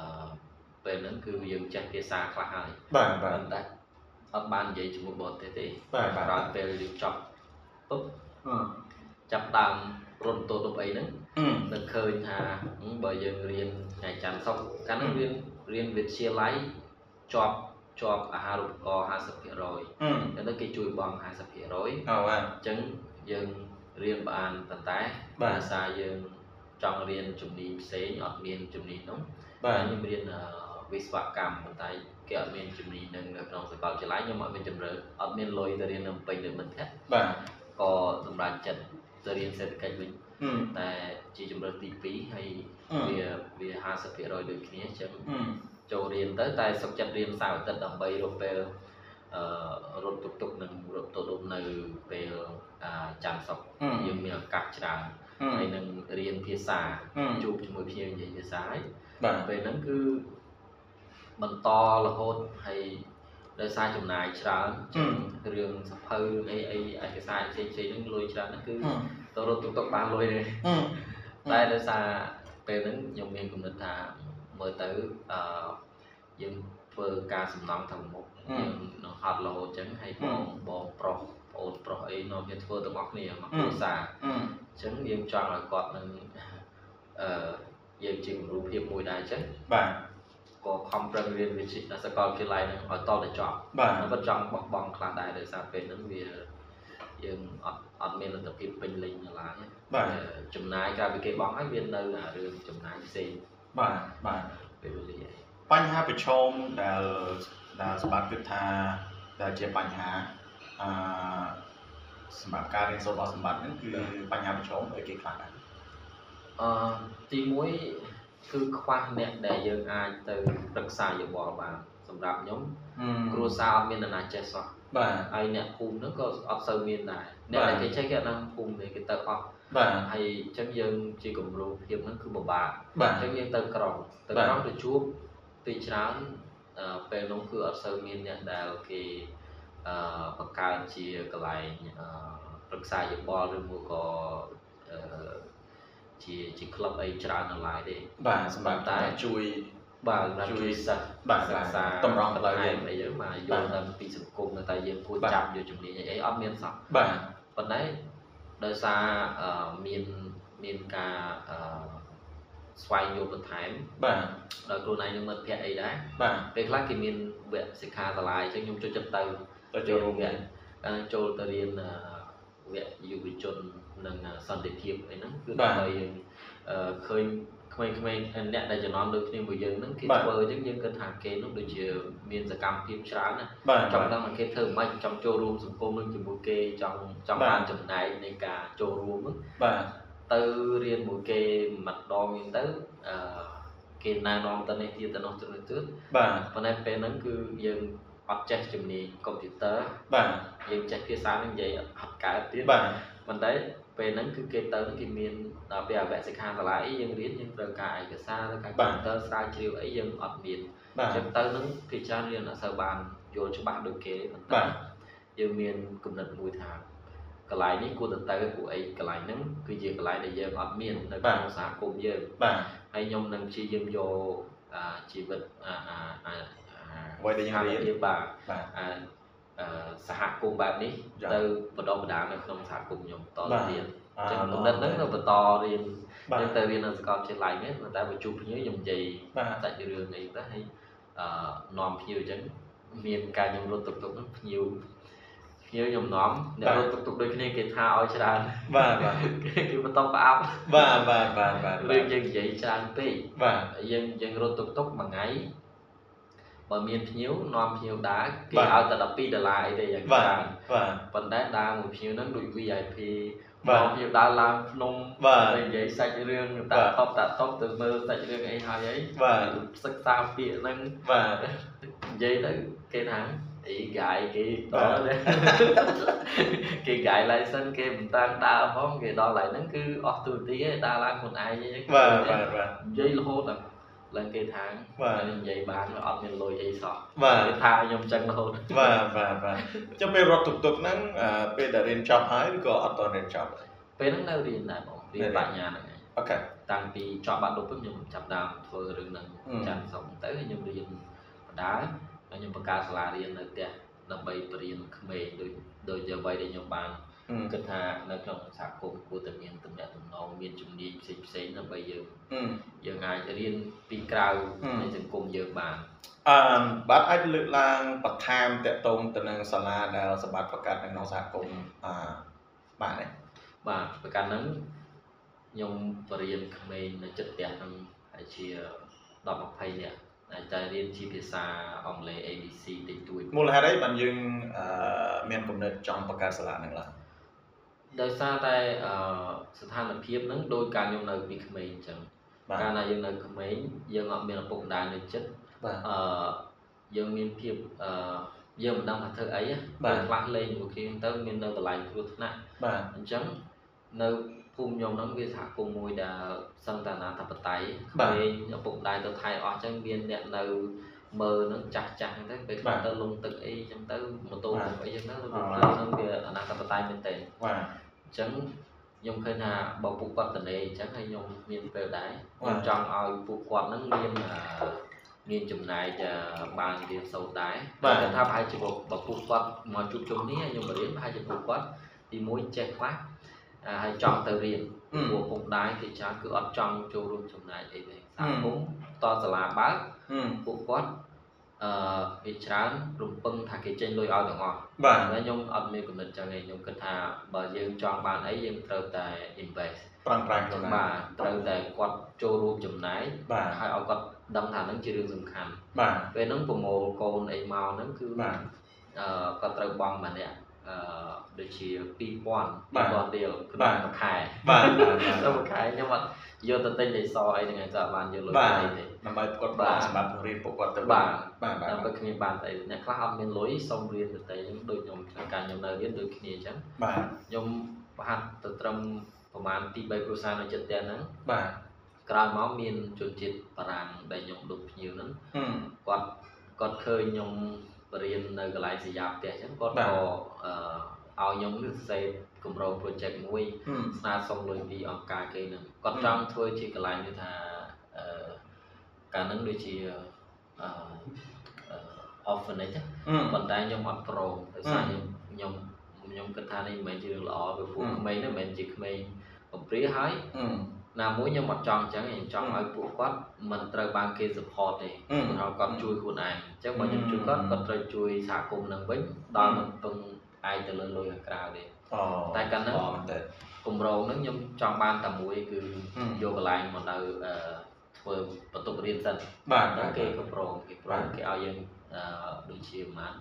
C: ពេលហ្នឹងគឺយើងចេះភាសាខ្លះហើយ
B: បាទបាទ
C: ប៉ុន្តែអត់បាននិយាយជាមួយបរទេសទេ
B: បាទបាទ
C: ក្រោយពេលយើងចប់ពុប
B: អឺ
C: ចាប់ដើមរំទោទប់អីហ្នឹង
B: អឺ
C: នឹកឃើញថាហឹមបើយើងរៀនថ្ងៃច័ន្ទសុក្រកាលហ្នឹងរៀនរៀនវិទ្យាល័យជាប់ជាប់អាហារូបករណ៍50%
B: អឺ
C: ឥឡូវគេជួយបង់50%អញ្
B: អូបាទ
C: ចឹងយើងរៀនបានប៉ុន្តែ
B: បាទ
C: ភាសាយើងចង់រៀនជំនាញផ្សេងអត់មានជំនាញនោះ
B: បា
C: បាទ
B: ទ
C: ខ្ញុំរៀនអឺវិស្វកម្មប៉ុន្តែគេអត់មានជំនាញនឹងនៅក្នុងសាកលវិទ្យាល័យខ្ញុំអត់មានជំរឿនអត់មានលុយទៅរៀននៅពេញឬមិនធាក់
B: បាទ
C: ក៏សម្រាប់ចិត្តទៅរៀនសេដ្ឋកិច្ចវិញ
B: អឺ
C: តែជាជំរឿនទី2ហើយ
B: អឺ
C: វាវា50%ដូចគ្នាអញ្ចឹង
B: អឺ
C: ចូលរៀនទៅតែសុខចិត្តរៀនសៅរ៍អាទិត្យដើម្បីរកពេលអឺរត់ទុកទុកនិងរត់ទៅដុំនៅពេលអាច័ន្ទសុខ
B: អឺ
C: យើងមានឱកាសច្រើន
B: អឺ
C: ហើយនឹងរៀនភាសា
B: អឺ
C: ជួបជាមួយភ្ញៀវនិយាយភាសាហើយ
B: បាទ
C: ពេលហ្នឹងគឺបន្តរហូតហើយដោយសារចំណាយច្រើន
B: អឺ
C: ចឹងរឿងសភៅរឿងអីអីឯកសារផ្សេងផ្សេងហ្នឹងលុយច្រើនណាស់គឺ
B: អឺ
C: ទៅរត់ទុកទុកបានលុយទេ
B: អឺ
C: តែដោយសារពេលហ្នឹងខ្ញុំមានគំនិតថាមើលទៅអឺយើងធ្វើការសំណង់ទៅមុខ
B: អឺ
C: យើងនឹងហត់រហូតចឹងហើយ
B: អឺ
C: បងបងប្រុសប្អូនប្រុសអីនាំគ្នាធ្វើទាំងអស់គ្នាមក
B: អឺ
C: គ្រួសារ
B: អឺ
C: អញ្ចឹងយើងចង់ឲ្យគាត់នឹង អឺយើងជាគំរូភាពមួយដែរអញ្ចឹង
B: បាទ
C: ក៏ខំប្រឹងរៀនវិជ្ជាសាកលវិទ្យាល័យហ្នឹងឲ្យតទៅចប់
B: បាទ
C: ហើយគាត់ចង់បោះបង់ខ្លះដែរដោយសារពេលហ្នឹងវាយើងអត់អត់មានលទ្ធភាពពេញលេញនៅឡើយ
B: បាទ
C: អឺចំណាយក្រៅពីគេបង់ហើយវានៅអារឿងចំណាយផ្សេង
B: បាទបាទ
C: ពេលវេលា
B: បញ្ហាប្រឈមដែលដែលសម្បត្តិគិតថាដែលជាបញ្ហាអឺសម្រាប់ការរៀនសូត្ររបស់សម្បត្តិហ្នឹងគឺបញ្ហាប្រឈមដូចគេខ្លះដែរ
C: អឺទី1គឺខ្វះអ្នកដែលយើងអាចទៅប្រឹក្សាយោបល់បានសម្រាប់ខ្ញុំគ្រួសារអត់មាននរណាចេះសោះ
B: បាទ
C: ហើយអ្នកភូមិហ្នឹងក៏អត់សូវមានដែរអ្នក
B: បាទ
C: ដែលគេចេះគេអត់ដឹងភូមិទេគេទៅអស់
B: បាទ
C: ហើយអញ្ចឹងយើងជាគម្រោងភាពហ្នឹងគឺពិបាក
B: បាទ
C: អញ្ចឹងយើងទៅក្រុងទៅ
B: បាទ
C: ក្រុងទៅជួបទីច្រើនអឺពេលនោះគឺអត់សូវមានអ្នកដែលគេ អឺបង្កើតជាកន្លែងអឺប្រឹក្សាយោបល់ឬមួយក៏អឺជាជាក្លឹបអីច្រើននៅឡើយទេ
B: បាទសម្រាប់តែជួយ
C: បាទសម្រាប់
B: ជួយ
C: ជួយសិស្ស
B: បាទតម្រង់ផ្លូវយើង
C: អីយើងមកយ
B: បាទ
C: ល់ដឹងពីសង្គមនៅតែយើងគួរ
B: បាទ
C: ចាប់យកជំនាញអីអីអត់មានសោះ
B: បាទ
C: ប៉ុន្តែដោយសារអឺមានមានការអឺស្វែងយល់បន្ថែម
B: បាទ
C: ដល់ខ្លួនឯងនឹងមិត្តភ័ក្តិអីដែរ
B: បាទ
C: ពេលខ្លះគេមានវគ្គសិក្ខាសាលាអញ្ចឹងខ្ញុំចូលចិត្តទៅ
B: ទៅចូលរួម
C: វ
B: គ្នា
C: គ្គអឺចូលទៅរៀនអឺវគ្គយុវជននិងអឺសន្តិភាពអីហ្នឹងគឺដើម្បីយើងអឺឃើញក្មេងៗអឺអ្នកដែលចំនួនដូចគ្នាមួយយើងហ្នឹងគេធ្វើអញ្ចឹងយើងគិតថាគេហ្នឹងដូចជាមានសកម្មភាពច្រើនណាស់
B: បាទ
C: ច
B: បាទ
C: ង់ដឹងថាគេធ្វើមិនចង់ចូលរួមសង្គមនឹងជាមួយគេចង់ចង់
B: បាទ
C: បានចំណែកនៃការចូលរួមហ្នឹង
B: បាទ
C: ទៅរៀនមួយគេម្ដងហ្នឹងទៅអឺគេណែនាំទៅនេះទៀតទៅនោះទៅនោះទៀត
B: បាទ
C: ប៉ុន្តែពេលហ្នឹងគឺយើងអត់ចេះជំនាញកុំព្យូទ័រ
B: បាទ
C: យើងចេះភាសានឹងនិយាយអត់កើតទៀត
B: បាទ
C: ប៉ុន្តែពេលហ្នឹងគឺគេទៅហ្នឹងគេមានដល់ពេលអវសិក្ខាសាលាអីយើងរៀនយើងត្រូវការឯកសារត្រូវការកុំព្យូទ័រស្រាវជ្រាវអីយើងអត់មាន
B: បាទ
C: ចឹងទៅហ្នឹងភាច្រើនរៀនអត់សូវបានយល់ច្បាស់ដូចគេទេប៉ុ
B: បា
C: ន្តែ
B: ទ
C: យើងមានគំនិតមួយថាកន្លែងនេះគួរទៅទៅព្រោះអីកន្លែងហ្នឹងគឺជាកន្លែងដែលយើងអត់មាននៅក្នុងសហគមន៍យើង
B: បាទ
C: ហើយខ្ញុំនឹងព្យាយាមយកអាជីវិតអាអាអាអា
B: អ្វីដែលយើងរៀន
C: ស្ថានភាពបាទ
B: បាទ
C: អាអឺសហគមន៍បែបនេះ
B: ចា៎
C: ទៅបណ្ដុះបណ្ដាលនៅក្នុងសហគមន៍ខ្ញុំបន្ត
B: បាទ
C: ទៅទៀតអញ្ចឹងគំនិតហ្នឹងនៅបន្តរៀន
B: បាទ
C: យើងទៅរៀននៅសាកលវិទ្យាល័យនេះប៉ុន្តែបើជួបភ្ញៀវខ្ញុំនិយាយ
B: បាទ
C: សាច់រឿងអីទៅហើយអឺនាំភ្ញៀវអញ្ចឹងមានការខ្ញុំរត់ទុកទុកហ្នឹងភ្ញៀវភ្ញៀវខ្ញុំនាំអ្នករត់ទុកទុកដូចគ្នាគេថាឲ្យច្រើន
B: បាទបាទ
C: គេគេបន្តផ្អាប់
B: បាទបាទបាទបាទ
C: រឿងយើងនិយាយច្រើនពេក
B: បាទ
C: យើងយើងរត់ទុកទុកមួយថ្ងៃបើមានភ្ញៀវនាំភ្ញៀវដើរគេឲ្យតែ12ដុល្លារអីទេយ៉ាង
B: បាទ
C: ច្រើន
B: បាទ
C: ប៉ុន្តែដើរមួយភ្ញៀវហ្នឹងដូច VIP
B: បា
C: បើ
B: ទ
C: ភ្ញៀវដើរឡើងភ្នំ
B: បាទ
C: ទៅនិយាយសាច់រឿង
B: បា
C: តា
B: ទ
C: តបតាតបទៅមើលសាច់រឿងអីហើយអី
B: បាទ
C: សិក្សាពាក្យហ្នឹង
B: បាទ
C: និយាយទៅគេថាអីកាយគេតទេ គេកាយ license គេមិនតាំងដើរផងគេដល់ឡៃហ្នឹងគឺអស់ទូរទីឯងដើរឡើងខ្លួនឯងឯង
B: បាទបាទបាទ
C: និយាយរហូតដល់ឡើងគេថា
B: បាទ
C: និយាយបានវាអត់មានលុយអីសោះ
B: បាទ
C: គេថាខ្ញុំចឹងរហូត
B: បាទបាទបាទចាំពេលរត់ទុកទុកហ្នឹងអឺពេលដែលរៀនចប់ហើយឬក៏អត់ទាន់រៀនចប់
C: ពេលហ្នឹងនៅរៀនដែរបងរៀ
B: នៅ
C: ន
B: រៀន
C: បញ្ញាហ្នឹងឯង
B: អូខេ
C: តាំងពីចប់បាក់ឌុបខ្ញុំចាប់ដើមធ្វើរឿងហ្នឹង
B: អឺ
C: ចាន់សុំទៅខ្ញុំរៀនបណ្ដាលហើយខ្ញុំបង្កើតសាលារៀននៅផ្ទះដើម្បីបរៀនក្មេងដូចដូចអ្វីដែលខ្ញុំបាន
B: អឺ
C: គិតថានៅក្នុងសហគមន៍គួរតែមានតំណែងតំណងមានជំនាញផ្សេងផ្សេងៗដើម្បីយើង
B: អឺ
C: យើងអាចរៀនពីក្រៅ
B: អឺ
C: នៃសង្គមយើងបាន
B: អឺបាទអាចលើកឡើងបន្ថែមតកតងទៅនឹងសាលាដែលសម្បត្តិប្រកាសនៅក្នុងសហគមន៍អឺបាទនេះ
C: បាទប្រកាន់ហ្នឹងខ្ញុំបរៀនក្មេងនៅចិត្តផ្ទះហ្នឹងហើយជា10 20នាក់អាចតែរៀនជាភាសាអង់គ្លេស ABC តិចតួច
B: មូលហេតុអីបានយើងអឺមានគំនិតចង់បង្កើតសាលាហ្នឹងឡើង
C: ដោយសារតែអឺស្ថានភាពហ្នឹងដោយការខ្ញុំនៅពីក្មេងអញ្ចឹង
B: បាទ
C: កាលណាយើងនៅក្មេងយើងអត់មានឪពុកម្ដាយនៅចិត្ត
B: បាទ
C: អឺយើងមានភាពអឺយើងមិនដឹងថាធ្វើអីណា
B: បាទ
C: ពេលខ្លះលេងជាមួយគ្នាទៅមាននៅកន្លែងគ្រោះថ្នាក់
B: បាទ
C: អញ្ចឹងនៅភូមិខ្ញុំហ្នឹងវាសហគមន៍មួយដែលសន្តានាធិបតេយ្យ
B: បាទ
C: ក្មេងឪពុកម្ដាយទៅថៃអស់អញ្ចឹងមានអ្នកនៅមើលហ្នឹងចាស់ចាស់ហ្នឹងទៅពេលខ្លះ
B: បាទ
C: ទៅលងទឹកអីអញ្ចឹងទៅម៉ូតូ
B: បាទ
C: អីអញ្ចឹងទៅ
B: អ่า
C: រថយន្តហ្នឹងវាអនាធិបតេយ្យមែនតើអ
B: បាទ
C: ញ្ចឹងខ្ញុំឃើញថាបើពួកគាត់តនេអញ្ចឹងហើយខ្ញុំមានពេលដែរខ្ញុំ
B: បាទ
C: ចង់ឲ្យពួកគាត់ហ្នឹងមានអាមានចំណែកអាបានរៀនសូត្រដែរ
B: បាទ
C: ខ្ញុំគិតថាប្រហែលជាបើបើពួកគាត់មកជួបជុំនេះហើយខ្ញុំបរៀនប្រហែលជាពួកគាត់ ទី1ចេះខ្វះអ่าហើយចង់ទៅរៀន
B: អឺ
C: ព្រោះពុកម្ដាយគេច្រើនគឺអត់ចង់ចូលរួមចំណែកអីទេ
B: អឺ
C: សហគមន៍តសាលាបើក
B: អឺ
C: ពួកគាត់អឺវាច្រើនរំពឹងថាគេចេញលុយឲ្យទាំងអស់
B: បាទ
C: តែខ្ញុំអត់មានគំនិតចឹងទេខ្ញុំគិតថាបើយើងចង់បានអីយើងត្រូវតែ invest
B: ប្រឹងប្រែងខ្លួនឯង
C: បាទត្រូវតែគាត់ចូលរួមចំណែក
B: បាទ
C: ហើយឲ្យគាត់ដឹងថាហ្នឹងជារឿងសំខាន់
B: បាទ
C: ពេលហ្នឹងប្រមូលកូនអីមកហ្នឹងគឺ
B: បាទ
C: អឺគាត់ត្រូវបង់ម្នាក់អឺដូចជា2000
B: បាទ
C: 2000រៀលក្នុង
B: បាទ
C: មួយខែ
B: បាទបាទបាទ
C: ក្នុងមួយខែខ្ញុំអត់យកទៅទិញអីសអីហ្នឹងឯងទៅអត់បានយកលុយ
B: បាទ
C: អីទេ
B: ដើម្បីផ្គត់ផ្គ
C: បាទ
B: ង់សម្រាប់រៀនពួកគាត់ទៅ
C: បាទ
B: បាទបាទ
C: ដល់ពេលគ្មានបានតែអ្នកខ្លះអត់មានលុយសុំរៀនទៅតែខ្ញុំដូចខ្ញុំក្នុងការខ្ញុំនៅរៀនដូចគ្នាអញ្ចឹង
B: បាទ
C: ខ្ញុំប្រហែលទៅត្រឹមប្រហែលទី3គ្រួសារនៅចិត្តផ្ទះហ្នឹង
B: បាទ
C: ក្រោយមកមានជនជាតិបារាំងដែលខ្ញុំដូចភ្ញៀវហ្នឹង
B: អឺ
C: គាត់គាត់ឃើញខ្ញុំ បរៀននៅកន្លែងសញ្ញាផ្ទះអញ្ចឹងគាត់
B: បាទ
C: ក៏អឺឲ្យខ្ញុំនឹងសរសេរគម្រោង project មួយ
B: ហឹម
C: ស្នើសុំលុយពីអង្គការគេនឹងគាត់
B: ហឹម
C: ចង់ធ្វើជាកន្លែងដូចថាអឺកាលហ្នឹងដូចជាអឺអឺ orphanage ហ្នឹង
B: ហឹម
C: ប៉ុន្តែខ្ញុំអត់ព្រមដោយសារ
B: អឺ
C: ខ្ញុំខ្ញុំខ្ញុំគិតថានេះមិនមែនជារឿងល្អព្រោះពួក
B: អឺ
C: ក្មេងហ្នឹងមិនមែនជាក្មេងកំព្រាហើយ
B: ហឹម
C: ណាមួយខ្ញុំអត់ចង់អញ្ចឹងខ្ញុំចង់
B: អឺ
C: ឲ្យពួកគាត់មិនត្រូវបានគេ support ទេ
B: អឺ
C: ព្រោះគាត់ជួយខ្លួនឯងអញ្ចឹងបើខ្ញុំជួយគាត់
B: អឺ
C: គាត់ត្រូវជួយសហគមន៍នឹងវិញដល់
B: អឺ
C: មិនពឹងឯងទៅលើលុយខាងក្រៅទេ
B: អូ
C: តែកាលហ្នឹង
B: ល្អមែនតើ
C: គម្រោងហ្នឹងខ្ញុំចង់បានតែមួយគឺ
B: អឺ
C: យកកន្លែងមកនៅអឺធ្វើបន្ទប់រៀនសិន
B: បាទ
C: ដល់គេក៏ប្រងគេប្រ
B: បា
C: ង
B: ទ
C: គេឲ្យយើងអឺដូចជាប្រហែល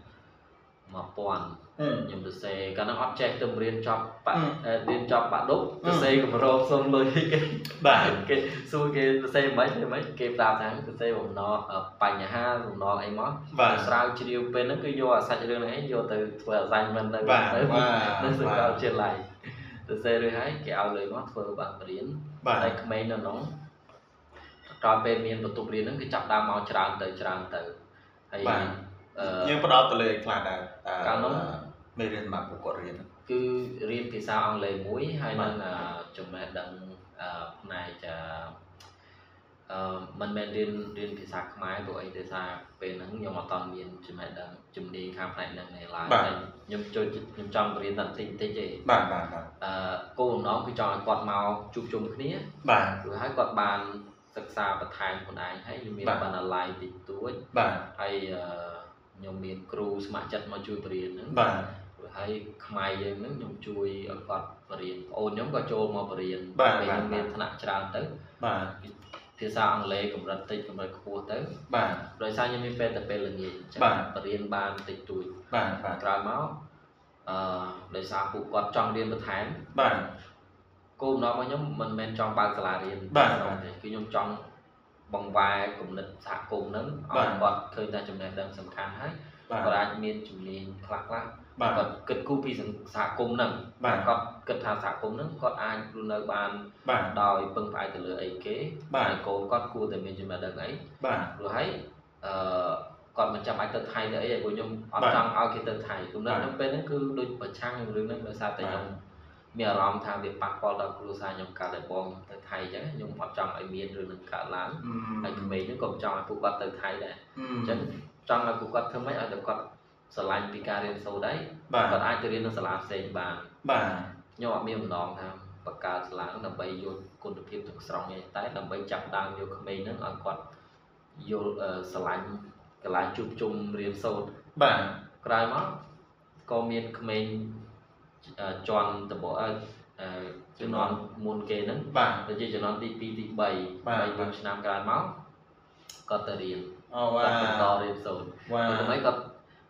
B: ហឹម
C: 1000ខ្ញុំទៅសេកាលនោះអត់ចេះទៅរៀនចប់បាក់
B: អឺ
C: អឺរៀនចប់បាក់ដប់
B: អឺ
C: ទៅសេកម្រងសុំលុយគេ
B: បាទ
C: គេសួរគេទៅសេមិនទេមិនគេប្រាប់ថាទៅសេបំណងអឺបញ្ហាបំណងអីមក
B: បាទ
C: ស្រាវជ្រាវពេលហ្នឹងគឺយកអាសាច់រឿងហ្នឹងឯងយកទៅធ្វើ assignment នៅ
B: បាទ
C: ទៅ
B: បាទ
C: នៅសា
B: បាទ
C: កលវិទ្យាល័យទៅសេរួចហើយគេឲ្យលុយមកធ្វើបាក់រៀន
B: បាទ
C: តែក្មេងនៅនោះដល់ពេលមានបន្ទប់រៀនហ្នឹងគឺចាប់ដើមមកច្រើនទៅច្រើនទៅហើយអ
B: យើ
C: ឺ
B: ងផ្ដោតទៅលើខ្លះដែរតើ
C: កាលហ្នឹង
B: មេរៀនសម្រាប់ពួកគាត់រៀន
C: គឺរៀនភាសាអង់គ្លេសមួយហើយ
B: បាទ
C: នឹងអឺចំណេះដឹងអឺផ្នែកអឺអឺមិនមែនរៀនរៀនភាសាខ្មែរព្រោះអីដោយសារពេលហ្នឹងខ្ញុំអត់តមានចំណេះដឹងជំនាញខាងផ្នែកហ្នឹងទេឡើយ
B: បាទ
C: តែខ្ញុំចូលចិត្តខ្ញុំចង់រៀនតែបន្តិចបន្តិចទេ
B: បាទបាទបាទ
C: អឺគោលបំណងគឺចង់ឲ្យគាត់មកជួបជុំគ្នា
B: បាទ
C: រួចហើយគាត់បានសិក្សាបន្ថែមខ្លួនឯងហើយខ្ញុំមាន
B: បាទ
C: បណ្ណាល័យតិចតួច
B: បាទ
C: ហើយអឺខ្ញុំមានគ្រូស្ម័គ្រចិត្តមកជួយបរៀនហ្នឹង
B: បាទ
C: រួចហើយខ្មែរយើងហ្នឹងខ្ញុំជួយឲ្យគាត់បរៀនប្អូនខ្ញុំក៏ចូលមកបរៀន
B: បាទ
C: ពេលខ្ញុំ
B: បាទ
C: មានថ្នាក់ច្រើនទៅ
B: បាទ
C: ភាសាអង់គ្លេសកម្រិតតិចកម្រិតខ្ពស់ទៅ
B: បាទ
C: ដោយសារខ្ញុំមានពេលតែពេលល្ងាចអញ្ចឹង
B: បាទ
C: បរៀនបានតិចតួច
B: បាទបាទ
C: ក្រោយមកអឺដោយសារពួកគាត់ចង់រៀនបន្ថែម
B: បាទ
C: គោលបំណងរបស់ខ្ញុំមិនមែនចង់បើកសាលារៀន
B: បាទ
C: ក្នុងទេគឺខ្ញុំចង់បង្វែរគំនិតសហគមន៍ហ្នឹង
B: បា
C: ឲ្យ
B: ទ
C: គាត់ឃើញតែចំណេះដឹងសំខាន់ហើយ
B: បាទ
C: គាត់អាចមានជំនាញខ្លះខ្លះ
B: បាទ
C: គាត់គិតគូរពីសង្គសហគមន៍ហ្នឹង
B: បាទ
C: គាត់គិតថាសហគមន៍ហ្នឹងគាត់អាចរស់នៅបាន
B: បាទ
C: ដោយពឹងផ្អែកទៅលើអីគេ
B: បាទ
C: ហើយកូនគាត់គួរតែមានចំណេះដឹងអី
B: បាទ
C: ព្រោះហើយអឺគាត់មិនចាំបាច់ទៅថៃទៅអីឯងព្រោះខ្ញុំអ
B: បាទ
C: ត់ចង់ឲ្យគេទៅថៃគំ
B: បា
C: និត
B: ទ
C: ខ្ញុំពេលហ្នឹងគឺដូចប្រឆាំងនឹងរឿងហ្នឹងដោយសារ
B: បាទ
C: តែខ្ញុំ មានអារម្មណ៍ថាវាប៉ះពាល់ដល់គ្រួសារខ្ញុំកើតតែបងខ្ញុំទៅថៃអញ្ចឹងខ្ញុំអត់ចង់ឲ្យមានរឿងនឹងកើតឡើងហើយក្មេងហ្នឹងក៏មិនចង់ឲ្យពួកគាត់ទៅថៃដែរ
B: អ
C: អ
B: ញ្
C: ញ្ចឹងចង់ឲ្យពួកគាត់ធ្វើម៉េចឲ្យតែគាត់ស្រឡាញ់ពីការរៀនសូត្រដែរ
B: បាទ
C: គាត់អាចទៅរៀននៅសាលាផ្សេងបាន
B: បាទ
C: ខ្ញុំអត់មានបំណងថាបង្កើតសាលាដើម្បីយកគុណភាពទាំងស្រុងទេតែដើម្បីចាប់ផ្ដើមយកក្មេងហ្នឹងឲ្យគាត់យល់អឺស្រឡាញ់កន្លែងជួបជុំរៀនសូត្រ
B: បាទ
C: ក្រោយមកក៏មានក្មេងអឺជន់តបអឺអឺជំនាន់មុនគេហ្នឹង
B: បាទ
C: ទៅជាជំនាន់ទី2ទី3
B: បាទ
C: ហើយមួយឆ្នាំក្រោយមកគាត់ទៅរៀន
B: អូវ៉ា
C: គាត់បន្តរៀនសូត្រ
B: វ៉ា
C: ព្រោះមិនគាត់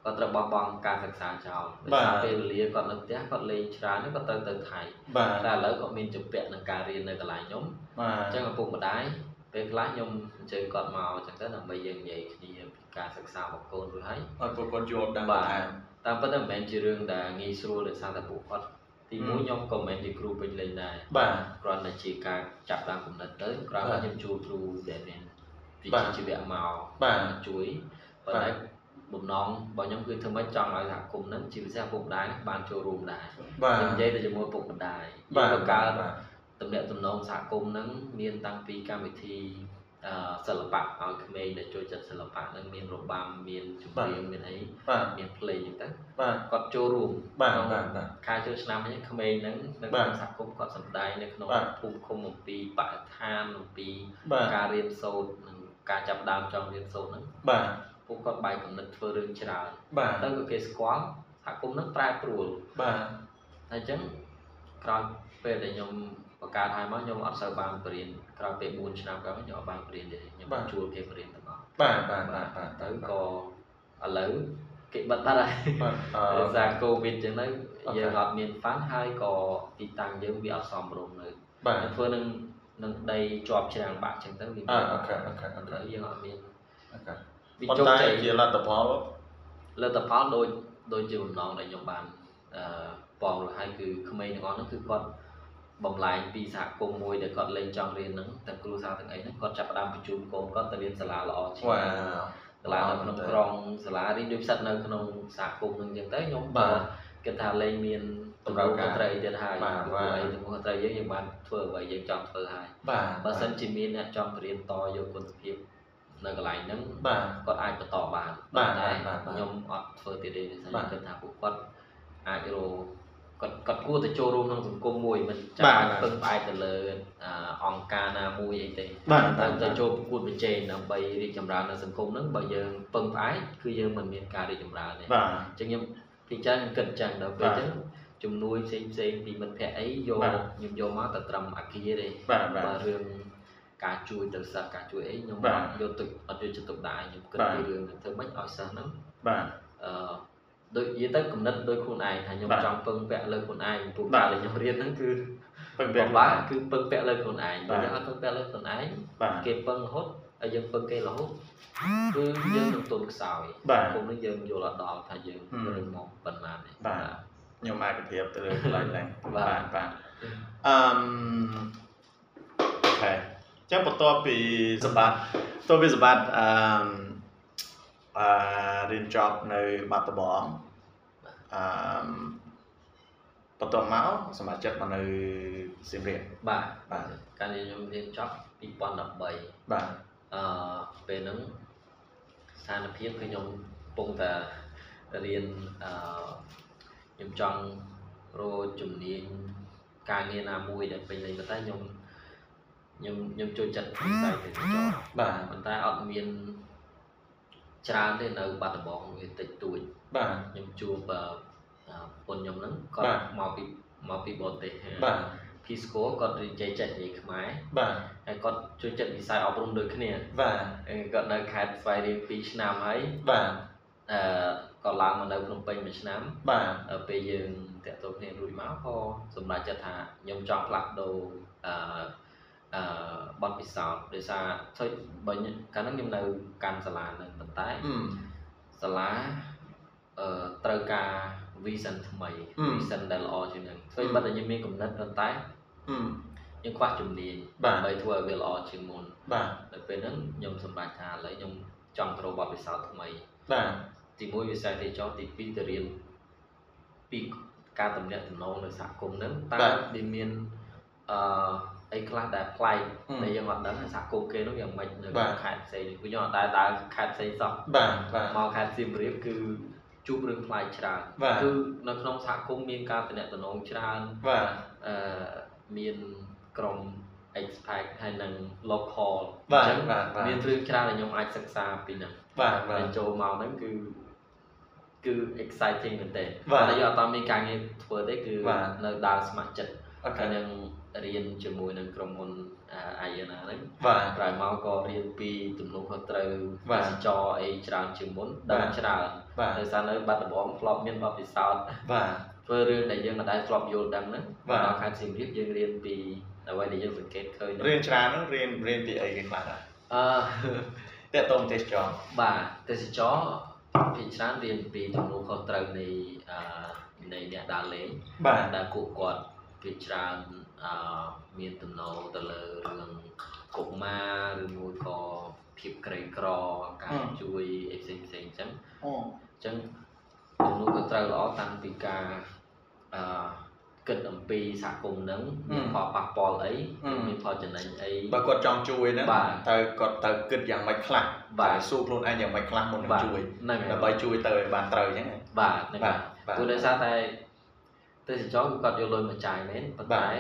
C: គាត់ត្រូវបោះបង់ការសិក្សាចោល
B: បាទ
C: ដោយសារពេលវេលាគាត់នៅផ្ទះគាត់លេងច្រើនហ្នឹងគាត់ត្រូវទៅថៃ
B: បាទ
C: តែឥឡូវគាត់មានជំពាក់នឹងការរៀននៅកន្លែងខ្ញុំ
B: បា
C: អ
B: ទ
C: ញ្ចឹងឪពុកម្ដាយពេលខ្លះខ្ញុំអញ្ជើញគាត់មកអញ្ចឹងទៅដើម្បីយើងនិយាយគ្នាពីការសិក្សារបស់កូនរួចហើយ
B: ឲ្យពួកគាត់យល់ដឹង
C: បា
B: បន្
C: ទ
B: ថែម
C: តាមពិតទៅមិនមែនជារឿងដែលងាយស្រួលដោយសារតែពួកគាត់ទីមួយ
B: ហឹម
C: ខ្ញុំក៏មិនមែនជាគ្រូពេញលេញដែរ
B: បាទ
C: គ្រាន់តែជាការចាប់តាមគំនិតទៅក្រោយ
B: បា
C: មក
B: ទ
C: ខ្ញុំជួលគ្រូដែលមានវិ
B: បាទ
C: ជ្ជាជីវៈមក
B: បាទ
C: ជួយប៉ុន្តែបំណងរបស់ខ្ញុំគឺធ្វើម៉េចចង់ឲ្យសហគមន៍ហ្នឹងជាពិសេសឪពុកម្ដាយហ្នឹងបានចូលរួមដែរ
B: បាទ
C: ខ្ញុំនិយាយទៅជាមួយឪពុកម្ដាយយើ
B: បាទ
C: ងបង្កើត
B: បាទ
C: ទំនាក់ទំនងសហគមន៍ហ្នឹងមានតាំងពីកម្មវិធីអឺសិល្បៈឲ្យក្មេងដែលចូលចិត្តសិល្បៈហ្នឹងមានរបាំមានចម្រៀងមានអី
B: បាទ
C: មានភ្លេងអញ្ចឹងទៅ
B: បាទ
C: គាត់ចូលរួម
B: បាទ
C: ក្នុង
B: បាទបាទ
C: ការចូលឆ្នាំនេះក្មេងហ្នឹងនៅ
B: បាទ
C: ក្នុងសហគមន៍គាត់សម្ដែងនៅក្នុង
B: បាទ
C: ភូមិឃុំអំពីបរិស្ថានអំពី
B: បាទ
C: ការរៀនសូត្រនិងការចាប់ផ្ដើមចង់រៀនសូត្រហ្នឹង
B: បាទ
C: ពួកគាត់បែកកំណត់ធ្វើរឿងច្រើន
B: បាទ
C: ទៅគឺគេស្គាល់សហគមន៍ហ្នឹងប្រែប្រួល
B: បាទ
C: ហើយអញ្ចឹងក្រោយពេលដែលខ្ញុំបង្កើតហើយមកខ្ញុំអត់សូវបានបរៀនក្រោយពេល4ឆ្នាំក្រោយមកខ្ញុំអត់បានបរៀនទេខ្ញុំ
B: បាទ
C: ជួលគេបរៀនទាំងអស់
B: បាទបាទបាទបាទ
C: ទៅ
B: ទៅ
C: ក៏ឥឡូវគេបិទបាត់ហើយ
B: បាទអឺ
C: ដោយ សារកូវីដអញ្ចឹងទៅ
B: អូខេ
C: យើងអត់មានហ្វាន់ហើយក៏ទីតាំងយើងវាអត់សមរម្យនៅ
B: បាទ
C: ធ្វើនឹងនឹងដីជាប់ច្រាំងបាក់អញ្ចឹងទៅវា
B: អ่าអូខេអូខេអូខេ
C: ឥឡូវយើងអត់មាន
B: អូខេ
C: វា
B: ប៉ុ
C: ជោគ
B: ន្តែ
C: ជ័យ
B: ជាលទ្ធផល
C: លទ្ធផលដូចដូចជាបំណងដែលខ្ញុំបានអឺបងរួចហើយគឺក្មេងទាំងអស់ហ្នឹងគឺគាត់បំលែងពីសហគមន៍មួយដែលគាត់លេងចង់រៀនហ្នឹងទាំងគ្រូសាស្ត្រទាំងអីហ្នឹងគាត់ចាប់ផ្ដើមបញ្ជូនកូនគាត់ទៅរៀនសាលាល្អជាង
B: វ៉ាវ
C: សាលានៅក្នុងក្រុងសាលារៀនដូចផ្សិតនៅក្នុងសហគមន៍នឹងអញ្ចឹងទៅខ្ញុំបាទគិតថាលែងមាន
B: តម្រូវការ
C: ត្រីទៀតហើយ
B: បាទបាទ
C: អីទំនួលខុសត្រូវយើងយើងបានធ្វើអ្វីយើងចង់ធ្វើហើយ
B: បាទ
C: បើសិនជាមានអ្នកចង់បរៀនតយកគុណភាពនៅកន្លែងហ្នឹង
B: បាទ
C: គាត់អាចបន្តបាន
B: បាទ
C: តែ
B: បាទបាទ
C: ខ្ញុំអត់ធ្វើទៀតទេដូចថា
B: បាទ
C: ខ្ញុំគិតថាពួកគាត់អាចរកគាត់គាត់គួរតែចូលរួមក្នុងសង្គមមួយមិន
B: បាទ
C: ចាំបាច់ពឹងផ្អែកទៅលើអឺអង្គការណាមួយអីទេ
B: បាទបា
C: តែ
B: ទ
C: ទៅចូលប្រកួតប្រជែងដើម្បីរីកចម្រើននៅសង្គមហ្នឹងបើយើងពឹងផ្អែកគឺយើងមិនមានការរីកចម្រើនទេ
B: បាទ
C: ចឹងខ្ញុំពីច្រើនខ្ញុំគិតចឹងដល់ពេល
B: បាទ
C: ចឹងជំនួយផ្សេងផ្សេងពីមិត្តភ័ក្តិអីយក
B: បាទ
C: ខ្ញុំយកមកតែត្រឹមអាគារទេ
B: បាទបាទ
C: បាទរឿងការជួយទៅសិស្សការជួយអីខ្ញុំ
B: បា
C: អ
B: ទ
C: ត់យកទឹកអត់យកចិត្តទុកដាក់ឲ្យខ្ញុំគិត
B: បាទ
C: ពីរឿងហ្នឹងធ្វើម៉េចឲ្យសិស្សហ្នឹង
B: បាទ
C: អឺដូចនិយាយទៅគំនិតដូចខ្លួនឯងថាខ្ញុំ
B: បាទ
C: ចង់ពឹងពាក់លើខ្លួនឯងព្រោះ
B: បាទ
C: ការដែលខ្ញុំរៀនហ្នឹងគឺ
B: ពឹងពាក់
C: ពិបាកគឺពឹងពាក់លើខ្លួនឯង
B: បាទ
C: បើយើងអត់ពឹងពាក់លើខ្លួនឯង
B: បាទ
C: គេពឹងរហូតហើយយើងពឹងគេរហូតគឺយើងនឹងទន់ខ្សោយ
B: បាទ
C: គុំនេះយើងយល់អត់ដល់ថាយើង
B: ហឹម
C: រឹងមកប៉ុណ្ណានេះ
B: បាទ ខ្ញុំអាចប្រៀបទៅលើកន្លែងហ្នឹង
C: បាទ
B: បាទអឺមអូខេចាំបន្តពីសម្បត្តិតទៅពីសម្បត្តិអឺមអឺរៀនចប់នៅបាត់ដំបងអឺមបន្តមកសមាជិកមកនៅសៀមរាប
C: បាទ
B: បាទ
C: ការនិយមរៀនចប់2013
B: បាទ
C: អឺពេលហ្នឹងស្ថានភាពគឺខ្ញុំកំពុងតែរៀនអឺខ្ញុំចង់រកជំនាញការងារណាមួយដែលពេញលេញប៉ុន្តែខ្ញុំខ្ញុំខ្ញុំចូលចិត្តវិស័យទេសចរណ៍
B: បាទ
C: ប៉ុន្តែអត់មានច្រើនទេនៅបាត់ដំបងវាតិចតួច
B: បាទ
C: ខ្ញុំជួបអឺអឺប្រពន្ធខ្ញុំហ្នឹង
B: បា
C: គាត់
B: ទ
C: មកពីមកពីបរទេស
B: បាទ
C: ភីស្គូគាត់និយាយចេះនិយាយខ្មែរ
B: បាទ
C: ហើយគាត់ជួយចិត្តវិស័យអប់រំដូចគ្នា
B: បាទ
C: អឺគាត់នៅខេត្តស្វាយរៀង2ឆ្នាំហើយ
B: បាទ
C: អឺគាត់ឡើងមកនៅភ្នំពេញមួយឆ្នាំ
B: បាទ
C: ដល់ពេលយើងតាក់ទងគ្នារួចមកក៏សម្រេចចិត្តថាខ្ញុំចង់ផ្លាស់ប្ដូរអឺអឺបទពិសោធន៍ដោយសារធ្វើបើខ្ញុំកាលហ្នឹងខ្ញុំនៅកាន់សាលាហ្នឹងប៉ុន្តែ
B: អឺម
C: សាលាអឺត្រូវការ vision ថ្មី
B: អឺ
C: vision ដែលល្អជាងហ្នឹងធ្វើ
B: អឺ
C: បាត់តែខ្ញុំមានគំនិតប៉ុន្តែ
B: អឺម
C: ខ្ញុំខ្វះជំនាញ
B: បាទ
C: ដើម្បីធ្វើឲ្យវាល្អជាងមុន
B: បាទ
C: ដល់ពេលហ្នឹងខ្ញុំសម្រេចថាឥឡូវខ្ញុំចង់ត្រូវបទពិសោធន៍ថ្មី
B: បាទ
C: ទី1វិស័យទេសចរណ៍ទី2ទៅរៀនពីការតំណាក់តំណងនៅសហគមន៍ហ្នឹងតើវាមានអឺអីខ្លះដែលប្លែក
B: អឺម
C: ដែលយើងអត់ដឹងថាសហគមន៍គេហ្នឹងយ៉ាងម៉េចនៅ
B: បាទ
C: ខេត្តផ្សេងនេះគឺខ្ញុំអត់ដែលដើរខេត្តផ្សេងសោះ
B: បាទបាទ
C: មកខេត្តសៀមរាបគឺជួបរឿងផ្លាយច្រើន
B: បាទ
C: គឺនៅក្នុងសហគមន៍មានការតំណែងតំណងច្រើន
B: បាទ
C: អឺមានក្រុម expat ហើយនិង local
B: បាទ
C: អញ្ចឹង
B: បាទបាទ
C: មានរឿងច្រើនដែលខ្ញុំអាចសិក្សាពីហ្នឹង
B: បាទបាទ
C: ហើយចូលមកហ្នឹងគឺគឺ exciting មែនតើ
B: បាទ
C: តែយើងអត់តមានការងារធ្វើទេគឺ
B: បាទ
C: នៅដើរស្ម័គ្រចិត្ត
B: អូខេ
C: ហើយនឹងរៀនជាមួយនឹងក្រុមហ៊ុន IANA ហ្នឹង
B: បាទ
C: ក្រោយមកក៏រៀនពីទំនួលខុសត្រូវ
B: បាទ
C: វិស័យចរអីច្រើនជាងមុនដឹង
B: បាទ
C: ច្រើន
B: បាទ
C: ដោយសារនៅបាត់ដំបងធ្លាប់មានបទពិសោធន៍
B: បាទ
C: ធ្វើរឿងដែលយើងមិនដែលធ្លាប់យល់ដឹងហ្នឹង
B: បាទ
C: ដល់ខេត្តសៀមរាបយើងរៀនពីអ្វីដែលយើងសង្កេតឃើញហ្នឹង
B: រៀនច្រើនហ្នឹងរៀនរៀនពីអីគេខ្លះដែរ
C: អឺ
B: តេតងទេសចរ
C: បាទទេសចរភាគច្រើនរៀនពីទំនួលខុសត្រូវនៃអឺនៃអ្នកដើរលេង
B: បាទ
C: ដែលពួកគាត់ភាគច្រើនអឺមានទំនោរទៅលើរឿងកុមារឬមួយក៏ភាពក្រីក្រកា
B: អឺ
C: រជួយអីផ្សេងផ្សេងអញ្ចឹង
B: អូ
C: អញ្ចឹងទំនួលខុសត្រូវល្អតាំងពីការអឺគិតអំពីសហគមន៍ហ្នឹងមានផលប៉ះពាល់អីមានផលចំណេញអី
B: បើគាត់ចង់ជួយហ្នឹង
C: បាទ
B: ត្រូវគាត់ត្រូវគិតយ៉ាងម៉េចខ្លះ
C: បាទ
B: ត្រូវសួរខ្លួនឯងយ៉ាងម៉េចខ្លះមុននឹង
C: បាទ
B: ជួយ
C: ហ្នឹងហើយ
B: ដើម្បីជួយទៅឲ្យបានត្រូវអញ្ចឹងណា
C: បាទហ្នឹង
B: បាទបា
C: ហើយ
B: ទ
C: ព្រោះដោយសារតែទេសចរគឺគាត់យកលុយមកចាយមែនប៉ុ
B: បាទ
C: ន្តែ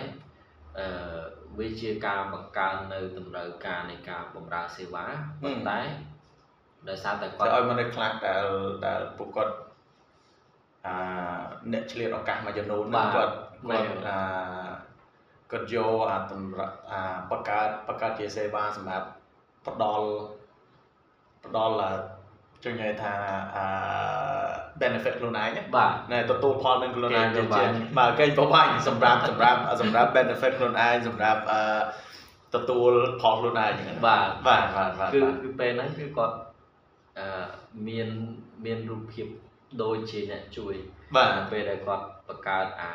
C: អឺវាជាការបង្កើននៅតម្រូវការនៃការបម្រើសេវា
B: ហឹម
C: ប៉ុន្តែដោយសារតែ
B: ទៅ
C: គាត់
B: ឲ្យមនុស្សខ្លះដែលដែលពួកគាត់អាអ្នកឆ្លៀតឱកាសមួយចំនួនហ្នឹ
C: បា
B: ង
C: ទ
B: គាត់
C: មែ
B: គា
C: ន
B: ត់អាគាត់យកអាតម្រាអាបង្កើតបង្កើតជាសេវាសម្រាប់ផ្ដល់ផ្ដល់អាជួយនិយាយថាអា benefit ខ្លួនឯងណា
C: បាទ
B: ណែទទួលផលនឹងខ្លួនឯង
C: គេ
B: ជា
C: ប្រវា
B: ជា
C: ញ់
B: ងបើគេប្រវាញ់សម្រាប់សម្រាប់សម្រាប់ benefit ខ្លួនឯងសម្រាប់អាទទួលផលខ្លួនឯងហ្នឹងណា
C: បាទ
B: បាទបាទបាទ
C: គឺគឺពេលហ្នឹងគឺគាត់អឺមានមានរូបភាពដូចជាអ្នកជួយ
B: បាទ
C: តែពេលដែលគាត់បង្កើតអា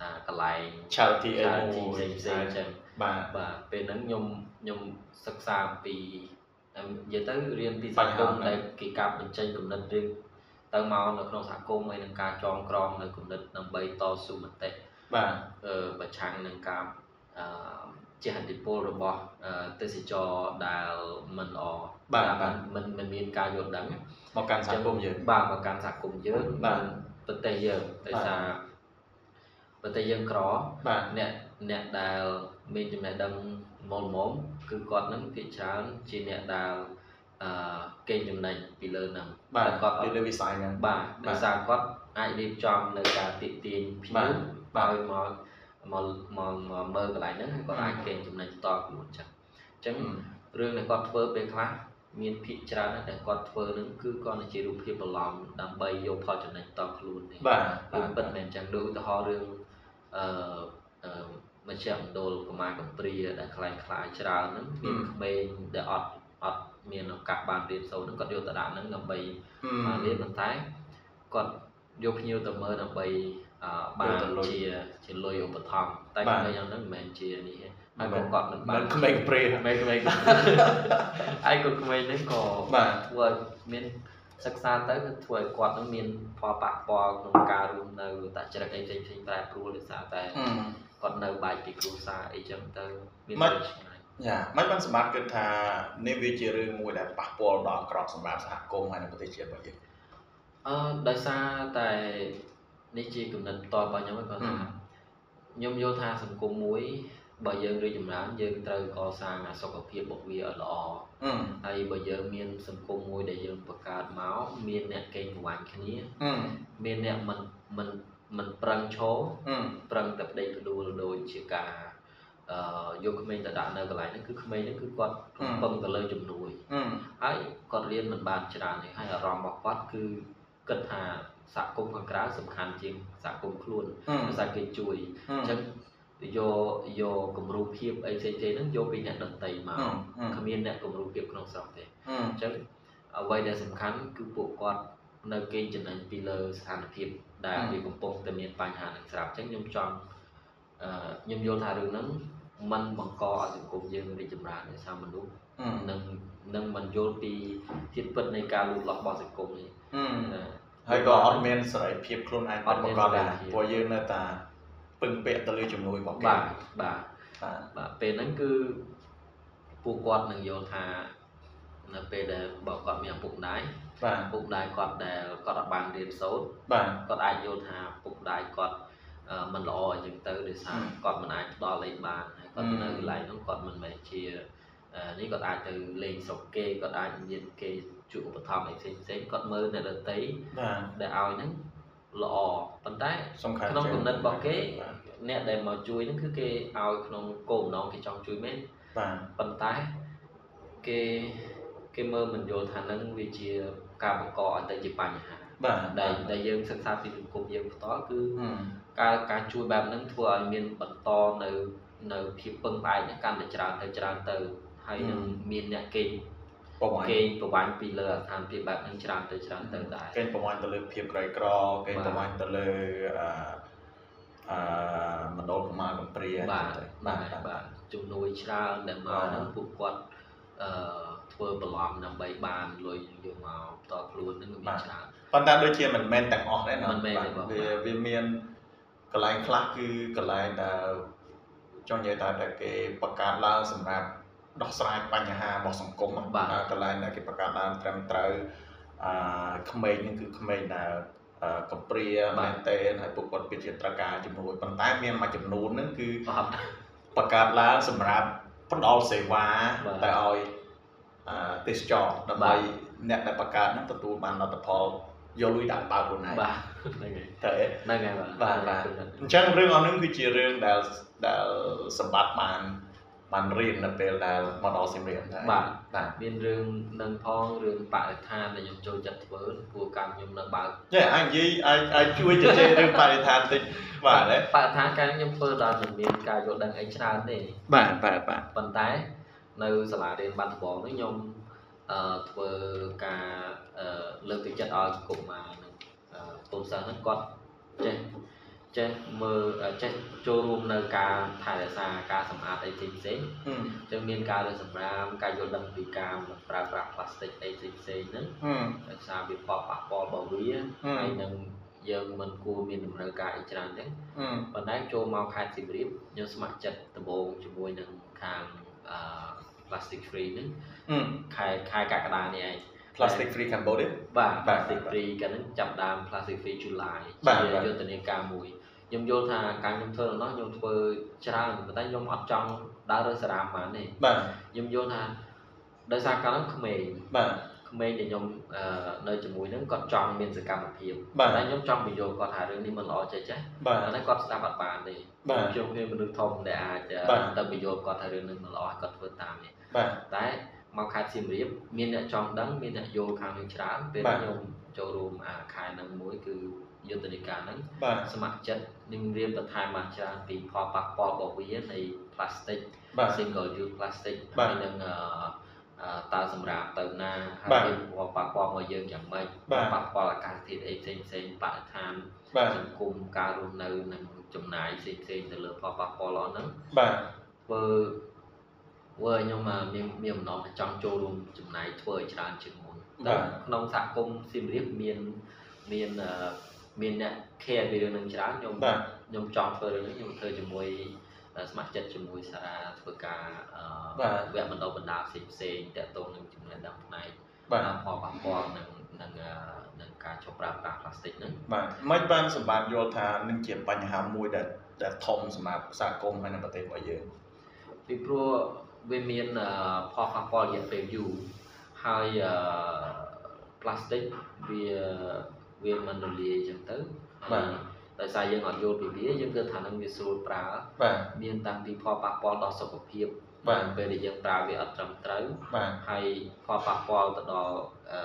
C: អាកន្លែង
B: charity អី
C: ការ
B: មួ
C: ទី
B: យ
C: ផ្សេងផ្សេងអញ្ចឹង
B: បាទ
C: បាទពេលហ្នឹងខ្ញុំខ្ញុំសិក្សាអំពី តែនិយាយទៅរៀនពី
B: ប
C: សហ
B: ញ្ហា
C: គមន៍
B: ហ្នឹង
C: ដែលគេកាប់បញ្ចេញគំនិតរៀងទៅមកនៅក្នុងសហគមន៍ហើយនឹងការចងក្រងនៅគំនិតដើម្បីតស៊ូមតិ
B: បាទ
C: អឺប្រឆាំងនឹងការអឺជាហិទ្ធិពលរបស់អឺទេសចរដែលមិនល្អ
B: បាទបាទ
C: មិនមិនមានការយល់ដឹង
B: មកកាន់សហគមន៍យើង
C: បាទមកកាន់សហគមន៍យើង
B: បាទ
C: ប្រទេសយើងដោយសារប្រទេសយើងក្រ
B: បាទ
C: អ្នកអ្នកដែលមានចំណេះដឹងមុលមុំគឺគាត់នឹងភាគច្រើនជាអ្នកដែលអឺគេងចំណេញពីលើហ្នឹង
B: បាទ
C: តែ
B: គា
C: គាត់
B: ត់
C: អ
B: ពី
C: ត់
B: លើវិស័យហ្នឹង
C: បាទ
B: បាទ
C: ដោយសារគាត់អាចរៀបចំនៅការទីទាញភ្ញៀវ
B: បាទ
C: ឲ្យមកមកមកមកមើលកន្លែងហ្នឹងហើយគាត់
B: អឺ
C: អាចគេងចំណេញតខ្លួនចឹងចឹង
B: អឺ
C: រឿងដែលគាត់ធ្វើពេលខ្លះមានភាគច្រើនណាស់ដែលគាត់ធ្វើហ្នឹងគឺគាត់នឹងជារូបភាពបន្លំដើម្បីយកផលចំណេញតខ្លួននេះ
B: បាទ
C: គឺ
B: បាទ
C: ពិតមែនចឹងដូចឧទាហរណ៍រឿងអឺអឺមជ្ឈមណ្ឌលកុមារកំព្រាដែលខ្លាំងខ្លាយច្រើនហ្នឹងមានក្មេងដែលអត់អត់មានឱកាសបានរៀនសូត្រហ្នឹងគាត់យកទៅដាក់ហ្នឹងដើម្បី
B: អឺ
C: បានរៀនប៉ុន្តែគាត់យកភ្ញៀវទៅមើលដើម្បីអឺបា
B: យក
C: ន
B: ទៅលុយ
C: ជាជាលុយឧបត្ថម្ភតែ
B: បាទ
C: ក្មេងហ្នឹងមិនមែនជានេះទេហើយក៏គាត់មិន
B: មិ
C: បាន
B: ន ក្មេងព្រា
C: ក្មេងក្មេងឯកក្មេងនេះក៏
B: បាទ
C: ធ្វើឲ្យមានសិក្សាទៅគឺធ្វើឲ្យគាត់នឹងមានផលប៉ះពាល់ក្នុងការរស់នៅតចរិតអីផ្សេងផ្សេងៗប្រែប្រួលដោយសារតែគាត់នៅបែកពីគ្រួសារអីចឹងទៅមាន
B: មិន
C: រឿងឆ្ងាយ
B: យ៉ាមិនបានសម្បត្តិគិតថានេះវាជារឿងមួយដែលប៉ះពាល់ដល់អាក្រក់សម្រាប់សហគមន៍ហើយនៅប្រទេសជាតិរបស់យើង
C: អឺដោយសារតែនេះជាគំនិតផ្ទាល់របស់ខ្ញុំឯងគាត់ថា
B: ហឹម
C: ខ្ញុំយល់ថាសង្គមមួយបើយើងរីកចម្រើនយើងត្រូវកសាងអាសុខភាពរបស់វាឲ្យល្អ
B: អឺ
C: ហើយបើយើងមានសង្គមមួយដែលយើងបង្កើតមកមានអ្នកកេងប្រវ័ញ្ចគ្នា
B: អឺ
C: មានអ្នកមិនមិនមិនប្រឹងឈរ
B: អឺ
C: ប្រឹងតែប្តេជ្ញាផ្ដួលដូចជាការអឺយកក្មេងទៅដាក់នៅកន្លែងហ្នឹងគឺក្មេងហ្នឹងគឺគាត់រំពឹងទៅលើជំនួយ
B: អឺ
C: ហើយគាត់រៀនមិនបានច្រើនទេហើយអារម្មណ៍របស់គាត់គឺគិតថាសហគមន៍ខាងក្រៅសំខាន់ជាងសហគមន៍ខ្លួន
B: អឺ
C: ភាសាគេជួយអញ្ចឹងយកយកគំរូភាពអីផ្សេងៗហ្នឹងយកពីអ្នកដទៃមកគ្មានអ្នកគំរូភាពក្នុងស្រុកទេ
B: អឺ
C: អញ្ចឹងអ្វីដែលសំខាន់គឺពួកគាត់នៅគេងចំណេញពីលើស្ថានភាពដែល
B: អឺ
C: វាកំពុងតែមានបញ្ហានឹងស្រាប់អញ្ចឹងខ្ញុំចង់អឺខ្ញុំយល់ថារឿងហ្នឹងมันបង្កឲ្យសង្គមយើងរីកចម្រើនដោយសារមនុស្ស
B: អឺ
C: នឹងនឹងមិនយល់ពីធាតុពិតនៃការលូតលាស់របស់សង្គមនេះ
B: អឺ
C: ណា
B: ហើយក៏អត់មានសេរីភាពខ្លួនឯង
C: អ
B: ពិ
C: ត់
B: ត
C: មា
B: ប្រា
C: នក
B: បដែរ
C: សេរីភាព
B: ព្រោះយើងនៅតែពឹងពាក់ទៅលើជំនួយរបស់គេ
C: បាទបាទ
B: បាទ
C: បាទពេលហ្នឹងគឺពួកគាត់នឹងយល់ថានៅពេលដែលបើគាត់មានឪពុកម្ដាយ
B: បាទ
C: ឪពុកម្ដាយគាត់ដែលគាត់អត់បានរៀនសូត្រ
B: បាទ
C: គាត់អាចយល់ថាពុកម្ដាយគាត់អឺមិនល្អអញ្ចឹងទៅដោយសារ
B: អឺ
C: គាត់មិនអាចផ្ដល់លេងបានហើយគាត់
B: អឺ
C: នៅកន្លែងនោះគាត់មិនមែនជាអឺនេះគាត់អាចទៅលេងស្រុកគេគាត់អាចមានគេជួបឧបត្ថម្ភអីផ្សេងផ្សេងៗគាត់មើលអ្នកដទៃ
B: បាទ
C: ដែលឲ្យហ្នឹងល្អប៉ុន្តែ
B: សំខាន់
C: ក្នុង
B: ជា
C: គំនិតរបស់គេ
B: បាទ
C: អ្នកដែលមកជួយហ្នឹងគឺគេឲ្យក្នុងគោលបំណងគេចង់ជួយមែន
B: បាទ
C: ប៉ុន្តែគេគេមើលមិនយល់ថាហ្នឹងវាជាការបង្កឲ្យទៅជាបញ្ហា
B: បាទ
C: ដែលដែលយើងសិក្សាពីសង្គមយើងផ្ទាល់គឺ
B: អឺ
C: ការការជួយបែបហ្នឹងធ្វើឲ្យមានបន្តនៅនៅភាពពឹងផ្អែកហ្នឹងកាន់តែច្រើនទៅច្រើនទៅហើយនឹងមានអ្នកគេង
B: ប្រវាញ
C: គេងប្រវាញ់ពីលើអាស្ថានភាពបែបហ្នឹងច្រើនទៅច្រើនទៅដែរ
B: គេប្រវាញទៅលើភាពក្រីក្រគេ
C: បាទ
B: ប្រវាញទៅលើអឺអឺមណ្ឌលកុមារកំព្រា
C: បាទ
B: អីចឹងទៅ
C: បា
B: បាទ
C: ទ
B: បាទ
C: បាទជំនួយច្រើនដែលមក
B: បាទ
C: ហ្នឹងពួកគាត់អឺធ្វើប្រឡំដើម្បីបានលុយយកមកតខ្លួនហ្នឹងវាមានច្រើន
B: ប៉ុន្តែដូចជាមិនមែនទាំងអស់ដែរណា
C: មិនមែនទេ
B: ទ
C: បង
B: វាវាមានកន្លែងខ្លះគឺកន្លែងដែលចង់និយាយថាតែគេបង្កើតឡើងសម្រាប់ដោះស្រាយបញ្ហារបស់សង្គម
C: បាទ
B: ណាកន្លែងដែលគេបង្កើតឡើងត្រឹមត្រូវអឺក្មេងហ្នឹងគឺក្មេងដែលអឺកំព្រាមែនតេនហើយពួកគាត់ពិតជាត្រូវការជំនួយប៉ុន្តែមានមួយចំនួនហ្នឹងគឺ
C: អត់
B: បង្កើតឡើងសម្រាប់ផ្ដល់សេវា
C: បាទ
B: តែឲ្យអឺទេសចរដើម្បី
C: បាទ
B: អ្នកដែលបង្កើតហ្នឹងទទួលបានលទ្ធផលយកលុយដាក់បើកខ្លួនឯង
C: បាទហ្នឹងហើយ
B: ទៅឯង
C: ហ្នឹងហើយ
B: បា
C: បាទ ទ
B: បាទ
C: ហ្នឹង
B: អញ្ចឹងរឿងអស់ហ្នឹងគឺជារឿងដែលដែលសម្បត្តិបានបានរៀននៅពេលដែលមកដល់សៀមរាបដែរ
C: បាទ
B: បាទ
C: មានរឿងនឹងផងរឿងបរិស្ថានដែលខ្ញុំចូលចិត្តធ្វើព្រោះកម្មខ្ញុំនៅបើក
B: ចេះអាចនិយាយអាចអាចជួយជជែករឿងបរិស្ថានតិចបាទណា
C: បរិស្ថានកម្មខ្ញុំធ្វើដល់មិនមានការយល់ដឹងអីច្រើនទេ
B: បាទបាទបាទ
C: ប៉ុន្តែនៅសាលារៀនបាត់ដំបងនេះខ្ញុំអឺធ្វើការអឺលើកទឹកចិត្តឲ្យកុមារនឹងអឺកូនសិស្សហ្នឹងគាត់ចេះ ចេះមើលចេះចូលរួមនៅការថែរក្សាការសម្អាតអីផ្សេងៗ ចឹងមានការលើសម្រាមការយល់ដឹងពីការមិនប្រើប្រាស់ផ្លាស្ទិកអីផ្សេងៗហ្នឹងដោយសារវាផលប៉ះពាល់របស់វាហើយនឹងយើងមិនគួរមានតម្រូវការអីច្រើនទេប៉ុន្តែចូលមកខេត្តសៀមរាបយើងស្ម័គ្រចិត្តដំបូងជាមួយនឹងខាងអឺ plastic free ហ្នឹងខែខែកក្កដានេះឯង
B: plastic free Cambodia
C: បាទ
B: បាទ
C: plastic free កាលហ្នឹងចាប់ផ្ដើម plastic free July
B: បាទ
C: ជា
B: បាទ
C: យុទ្ធនាការមួយខ្ញុំយល់ថាការខ្ញុំធ្វើនៅនោះខ្ញុំធ្វើច្រើនប៉ុន្តែខ្ញុំអត់ចង់ដើររើសសារ៉ាមបានទេ
B: បាទ
C: ខ្ញុំយល់ថាដោយសារកាលហ្នឹងក្មេង
B: បាទ
C: ក្មេងដែលខ្ញុំអឺនៅជាមួយហ្នឹងគាត់ចង់មានសកម្មភាព
B: បាទ
C: តែខ្ញុំចង់បញ្យល់គាត់ថារឿងនេះមិនល្អចេះចេះ
B: បាទ
C: តែគាត់ស្ដាប់អត់បានទេ
B: បាទ
C: ខ្ញុំជាមនុស្សធំដែលអាច
B: បាទ
C: ទៅបញ្យល់គាត់ថារឿងនេះមិនល្អឲ្យគាត់ធ្វើតាមនេះ
B: បាទ
C: តែមកខេត្តសៀមរាបមានអ្នកចង់ដឹងមានអ្នកយល់ខាងនេះច្រើនពេល
B: បាទ
C: ខ្ញុំចូលរួមអាខែហ្នឹងមួយគឺយុទ្ធនាការហ្នឹង
B: បាទ
C: សមាជិកនឹងរៀនបន្ថែមបានច្រើនពីផលប៉ះពាល់របស់វានៃផ្លាស្ទិក
B: បាទ
C: single use plastic
B: បា
C: ហើយ
B: ទ
C: នឹងអអឺតើសម្រាប់ទៅណា
B: បា
C: ហើយ
B: ទ
C: វាប៉ះពាល់មកយើងយ៉ាងម៉េច
B: បាទ
C: ប៉ះពាល់អាកាសធាតុអីផ្សេងផ្សេងបរិស្ថាន
B: បាទ
C: សង្គមការរស់នៅនិងចំណាយផ្សេងផ្សេងទៅលើផលប៉ះពាល់ល្អហ្នឹង
B: បាទ
C: ធ្វើធ្វើឲ្យខ្ញុំមកមានមានបំណងថាចង់ចូលរួមចំណាយធ្វើឲ្យច្រើនជាងមុន
B: បាទ
C: ក្នុងសហគមន៍សៀមរាបមានមានអឺមានអ្នក care ពីរឿងហ្នឹងច្រើនខ្ញុំ
B: បាទ
C: ខ្ញុំចង់ធ្វើរឿងនេះខ្ញុំធ្វើជាមួយស្ម័គ្រចិត្តជាមួយសារ៉ាធ្វើការអ
B: បា
C: ឺ
B: ទ
C: វគ្គបណ្ដុះបណ្ដាលផ្សេងផ្សេងតាក់ទងនឹងចំណេះដឹងផ្នែក
B: បាទ
C: ផលប៉ះពាល់នឹងនឹងអឺនឹងការចុះប្រើប្រាស់ផ្លាស្ទិកហ្នឹង
B: បាទមិនបានសម្បាតយល់ថានឹងជាបញ្ហាមួយដែលដែលធំសម្រាប់សហគមន៍ហើយនៅប្រទេសរបស់យើង
C: ពីព្រោះវាមានអឺផលប៉ះពាល់រយៈពេលយូរហើយអឺផ្លាស្ទិកវាវាមិនរលាយអញ្ចឹងទៅហើយដោយសារយើងអត់យល់ពីវាយើងគិតថានឹងវាស្រួលប្រើ
B: បាទ
C: មានតាំងពីផលប៉ះពាល់ដល់សុខភាព
B: បាទ
C: ពេលដែលយើងប្រើវាអត់ត្រឹមត្រូវ
B: បាទ
C: ហើយផលប៉ះពាល់ទៅដល់អឺ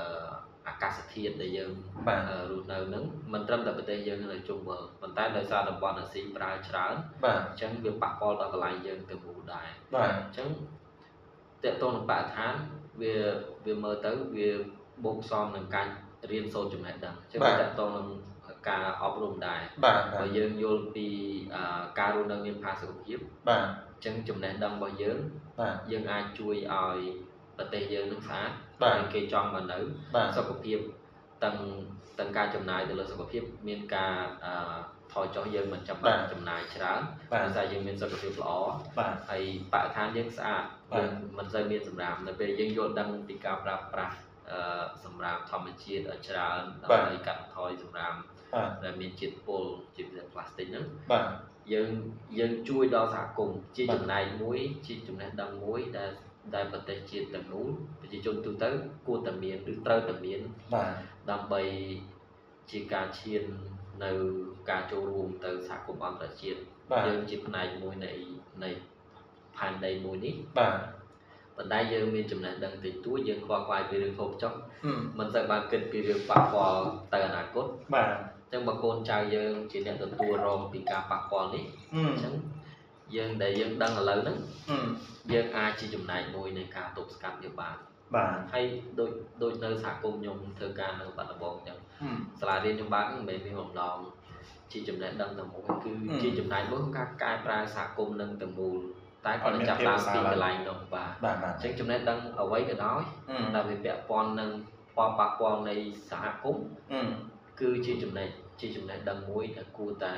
C: អាកាសធាតុដែលយើង
B: បាទ
C: អឺរស់នៅហ្នឹងមិនត្រឹមតែប្រទេសយើងនៅជុំវិញប៉ុន្តែដោយសារតំបន់អាស៊ីប្រើច្រើន
B: បាទ
C: អញ្ចឹងវាប៉ះពាល់ដល់កន្លែងយើងទាំងមូលដែរ
B: បាទ
C: អញ្ចឹងតកតងនឹងបរិស្ថានវាវាមើលទៅវាបូកផ្សំនឹងការរៀនសូត្រចំណេះដឹងអញ្ចឹងតកតងនឹងការអប់រំដែរ
B: បាទ
C: បើយើងយល់ពីអឺការរស់នៅមានផាសុកភាព
B: បាទ
C: ចឹងចំណេះដឹងរបស់យើង
B: បាទ
C: យើងអាចជួយឲ្យប្រទេសយើងនឹងស្អាត
B: បាទ
C: ហើយគេចង់មកនៅ
B: បាទ
C: សុខភាពទាំងទាំងការចំណាយទៅលើសុខភាពមានការអឺថយចុះយើងមិនចាំបាច់ចំណាយច្រើន
B: បាទ
C: ដោយសារយើងមានសុខភាពល្អ
B: បាទ
C: ហើយបរិស្ថានយើងស្អាត
B: បាទ
C: យើងមិនសូវមានសម្រាមនៅពេលយើងយល់ដឹងពីការប្រើប្រាស់អឺសម្រាមធម្មជាតិឲ្យច្រើន
B: បា
C: ដើ
B: ទ
C: ម្បីកាត់បន្ថយសម្រាម
B: បាទ
C: ដែលមានជាតិពុលជាពិសេសផ្លាស្ទិកហ្នឹង
B: បាទ
C: យើងយើងជួយដល់សហគមន៍ជា
B: បាទ
C: ចំណែកមួយជាចំណេះដឹងមួយដែលដែលប្រទេសជាតិទាំងមូលប្រជាជនទូទៅគួរតែមានឬត្រូវតែមាន
B: បាទ
C: ដើម្បីជាការឈាននៅការចូលរួមទៅសហគមន៍អន្តរជាតិ
B: បាទ
C: យើងជាផ្នែកមួយនៃនៃផែនដីមួយនេះ
B: បាទ
C: ប៉ុន្តែយើងមានចំណេះដឹងតិចតួចយើងខ្វល់ខ្វាយពីរឿងហូបចុក
B: ហឹម
C: មិនសូវបានគិតពីរឿងប៉ះពាល់ទៅអនាគត
B: បាទ
C: អញ្ចឹងបើកូនចៅយើងជាអ្នកទទួលរងពីការប៉ះពាល់នេះ
B: ហឹម
C: អញ្ចឹងយើងដែលយើងដឹងឥឡូវហ្នឹង
B: ហឹម
C: យើងអាចជាចំណែកមួយនៃការទប់ស្កាត់វាបាន
B: បាទ
C: ហើយដូចដូចនៅសហគមន៍ខ្ញុំធ្វើការនៅបាត់ដំបងអញ្ចឹង
B: ហឹម
C: សាលារៀនខ្ញុំបានហ្នឹងមិនមែនមានបំណងជាចំណេះដឹងទាំងមូលគឺ
B: ម
C: ជាចំណែកមួយក្នុងការកែប្រែសហគមន៍នឹងទាំងមូលតែ
B: អត់
C: គាត់
B: មាន
C: ចា
B: ភា
C: ប់
B: ព
C: ដើមពី
B: សាឡា
C: កន្លែងនោះបាទ
B: បាទបាទ
C: អញ្ចឹងចំណេះដឹងអ្វីក៏ដោយ
B: ហឹម
C: ដែលវាពាក់ព័ន្ធនឹងផលប៉ះពាល់នៃសហគមន៍
B: ហឹម
C: គឺជាចំណេះជាចំណេះដឹងមួយដែលគួរតែ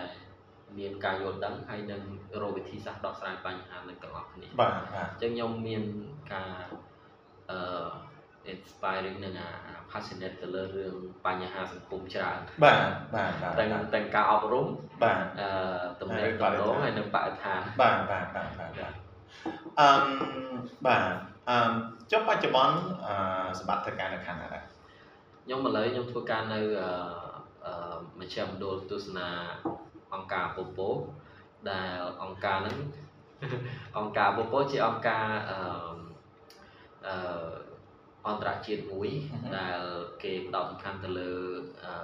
C: មានការយល់ដឹងហើយនឹងរកវិធីសាស្ត្រដោះស្រាយបញ្ហានឹងទាំងអស់គ្នា
B: បាទបាទ
C: អញ្ចឹងខ្ញុំមានការអឺ inspiring នឹងអា passionate ទៅលើរឿងបញ្ហាសង្គមច្រើន
B: បាទបាទបាទ
C: ទាំងទាំងការអប់រំ
B: បាទ
C: អឺតំណែង
B: ហើយបរិស្ថា
C: តំណ
B: ន
C: ងហើយនឹងបរិស្ថាន
B: បាទបាទបាទបាទបាទអឺមបាទអឺមចុះបច្ចុប្បន្នអឺសម្បត្តិធ្វើការនៅខាងណាដែរ
C: ខ្ញុំឥឡូវខ្ញុំធ្វើការនៅអឺអឺមជ្ឈមណ្ឌលទស្សនាអង្គការពពោដែលអង្គការហ្នឹង អង្គការពពោជាអង្គការអឺអឺអន្តរជាតិមួយដែលគេផ្ដោតសំខាន់ទៅលើអឺ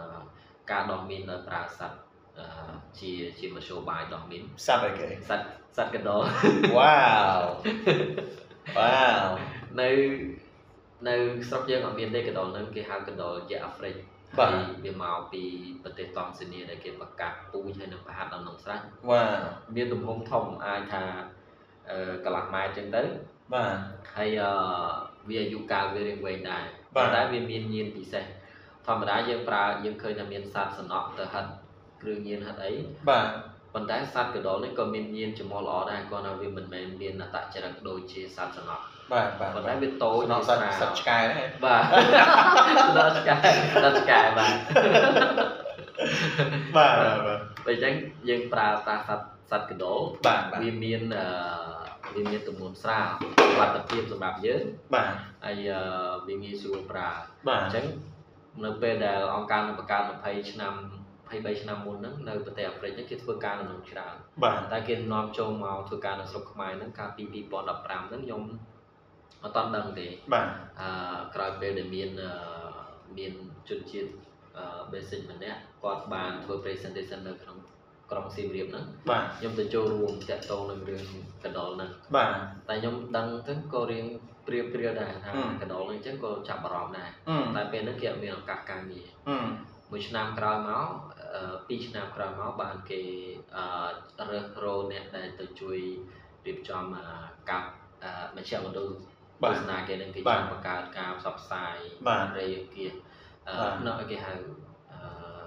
C: ការដោះមីនដោយប្រើសត្វអឺជាជាមធ្យោបាយដោះមីន
B: សត្វអីគេ
C: សត្វសត្វកណ្ដុរ
B: Wow Wow
C: នៅនៅស្រុកយើងអត់មានទេកណ្ដុរហ្នឹងគេហៅកណ្ដុរយក្សអាហ្វ្រិក
B: បាទ
C: ហើយវាមកពីប្រទេសតង់ស៊ីនីដែលគេប្រកាសពូជហើយនឹងប្រហាត់ដល់ក្នុងស្រេច
B: វ៉ា
C: មានទំហំធំអាចថាអឺកន្លះម៉ែត្រចឹងទៅ
B: បាទ
C: ហើយអឺវាអាយុកាលវារៀងវែងដែរ
B: បាទ
C: ប៉ុន្តែវាមានញៀនពិសេសធម្មតាយើងប្រើយើងឃើញថាមានសត្វសំណក់ទៅហិតគ្រឿងញៀនហិតអី
B: បាទ
C: ប៉ុន្តែសត្វកណ្ដុរនេះក៏មានញៀនចំមុះល្អដែរគ្រាន់តែវាមិនមែនមានអត្តចរិតដូចជាសត្វសន្នក់
B: បាទបាទ
C: ប៉ុន្តែវាតូច
B: តោចសត្វសត្វឆ្កែហ្នឹង
C: បាទដល់ឆ្កែដល់ឆ្កែបាទ
B: បាទបាទ
C: ដូច្នេះយើងប្រើប្រាស់សត្វសត្វកណ្ដុរ
B: បាទបាទ
C: វាមានអឺវាមានទំនួនស្រាលសុខភាពសម្រាប់យើង
B: បាទ
C: ហើយអឺវាងាយស្រួលប្រើ
B: បាទ
C: អញ្ចឹងនៅពេលដែលអង្គការនឹងបង្កើត20ឆ្នាំ23ឆ្នាំមុនហ្នឹងនៅប្រទេសអាហ្វ្រិកហ្នឹងគេធ្វើការដំណឹងច្រើន
B: បាទ
C: តែគេនាំចូលមកធ្វើការនៅស្រុកខ្មែរហ្នឹងកាលពី2015ហ្នឹងខ្ញុំអត់តដឹងទេ
B: បាទ
C: អឺក្រោយពេលដែលមានអឺមានជនជាតិអឺ basic ម្នាក់គាត់បានធ្វើ presentation នៅក្នុងក្រុងសៀមរាបហ្នឹង
B: បាទ
C: ខ្ញុំទៅចូលរួមតាក់ទងនឹងរឿងកណ្ដុរហ្នឹង
B: បាទ
C: តែខ្ញុំដឹងទៅក៏រៀងព្រាលព្រាលដែរថា
B: អឺ
C: កណ្ដុរហ្នឹងអញ្ចឹងក៏ចាប់អារម្មណ៍ដែរ
B: អឺ
C: តែពេលហ្នឹងគេអត់មានឱកាសការងារ
B: អឺ
C: មួយឆ្នាំក្រោយមកអឺពីរឆ្នាំក្រោយមកបានគេអឺរើសរកអ្នកដែលទៅជួយរៀបចំអឺកាប់អឺមជ្ឈមណ្ឌល
B: បាទ
C: សនាគេនឹងគេ
B: បាទ
C: ចាត់បង្កើតការផ្សព្វផ្សាយ
B: បាទ
C: រាយអង្គាសអ
B: បាទ
C: ឺផ្នែកគេហៅអឺ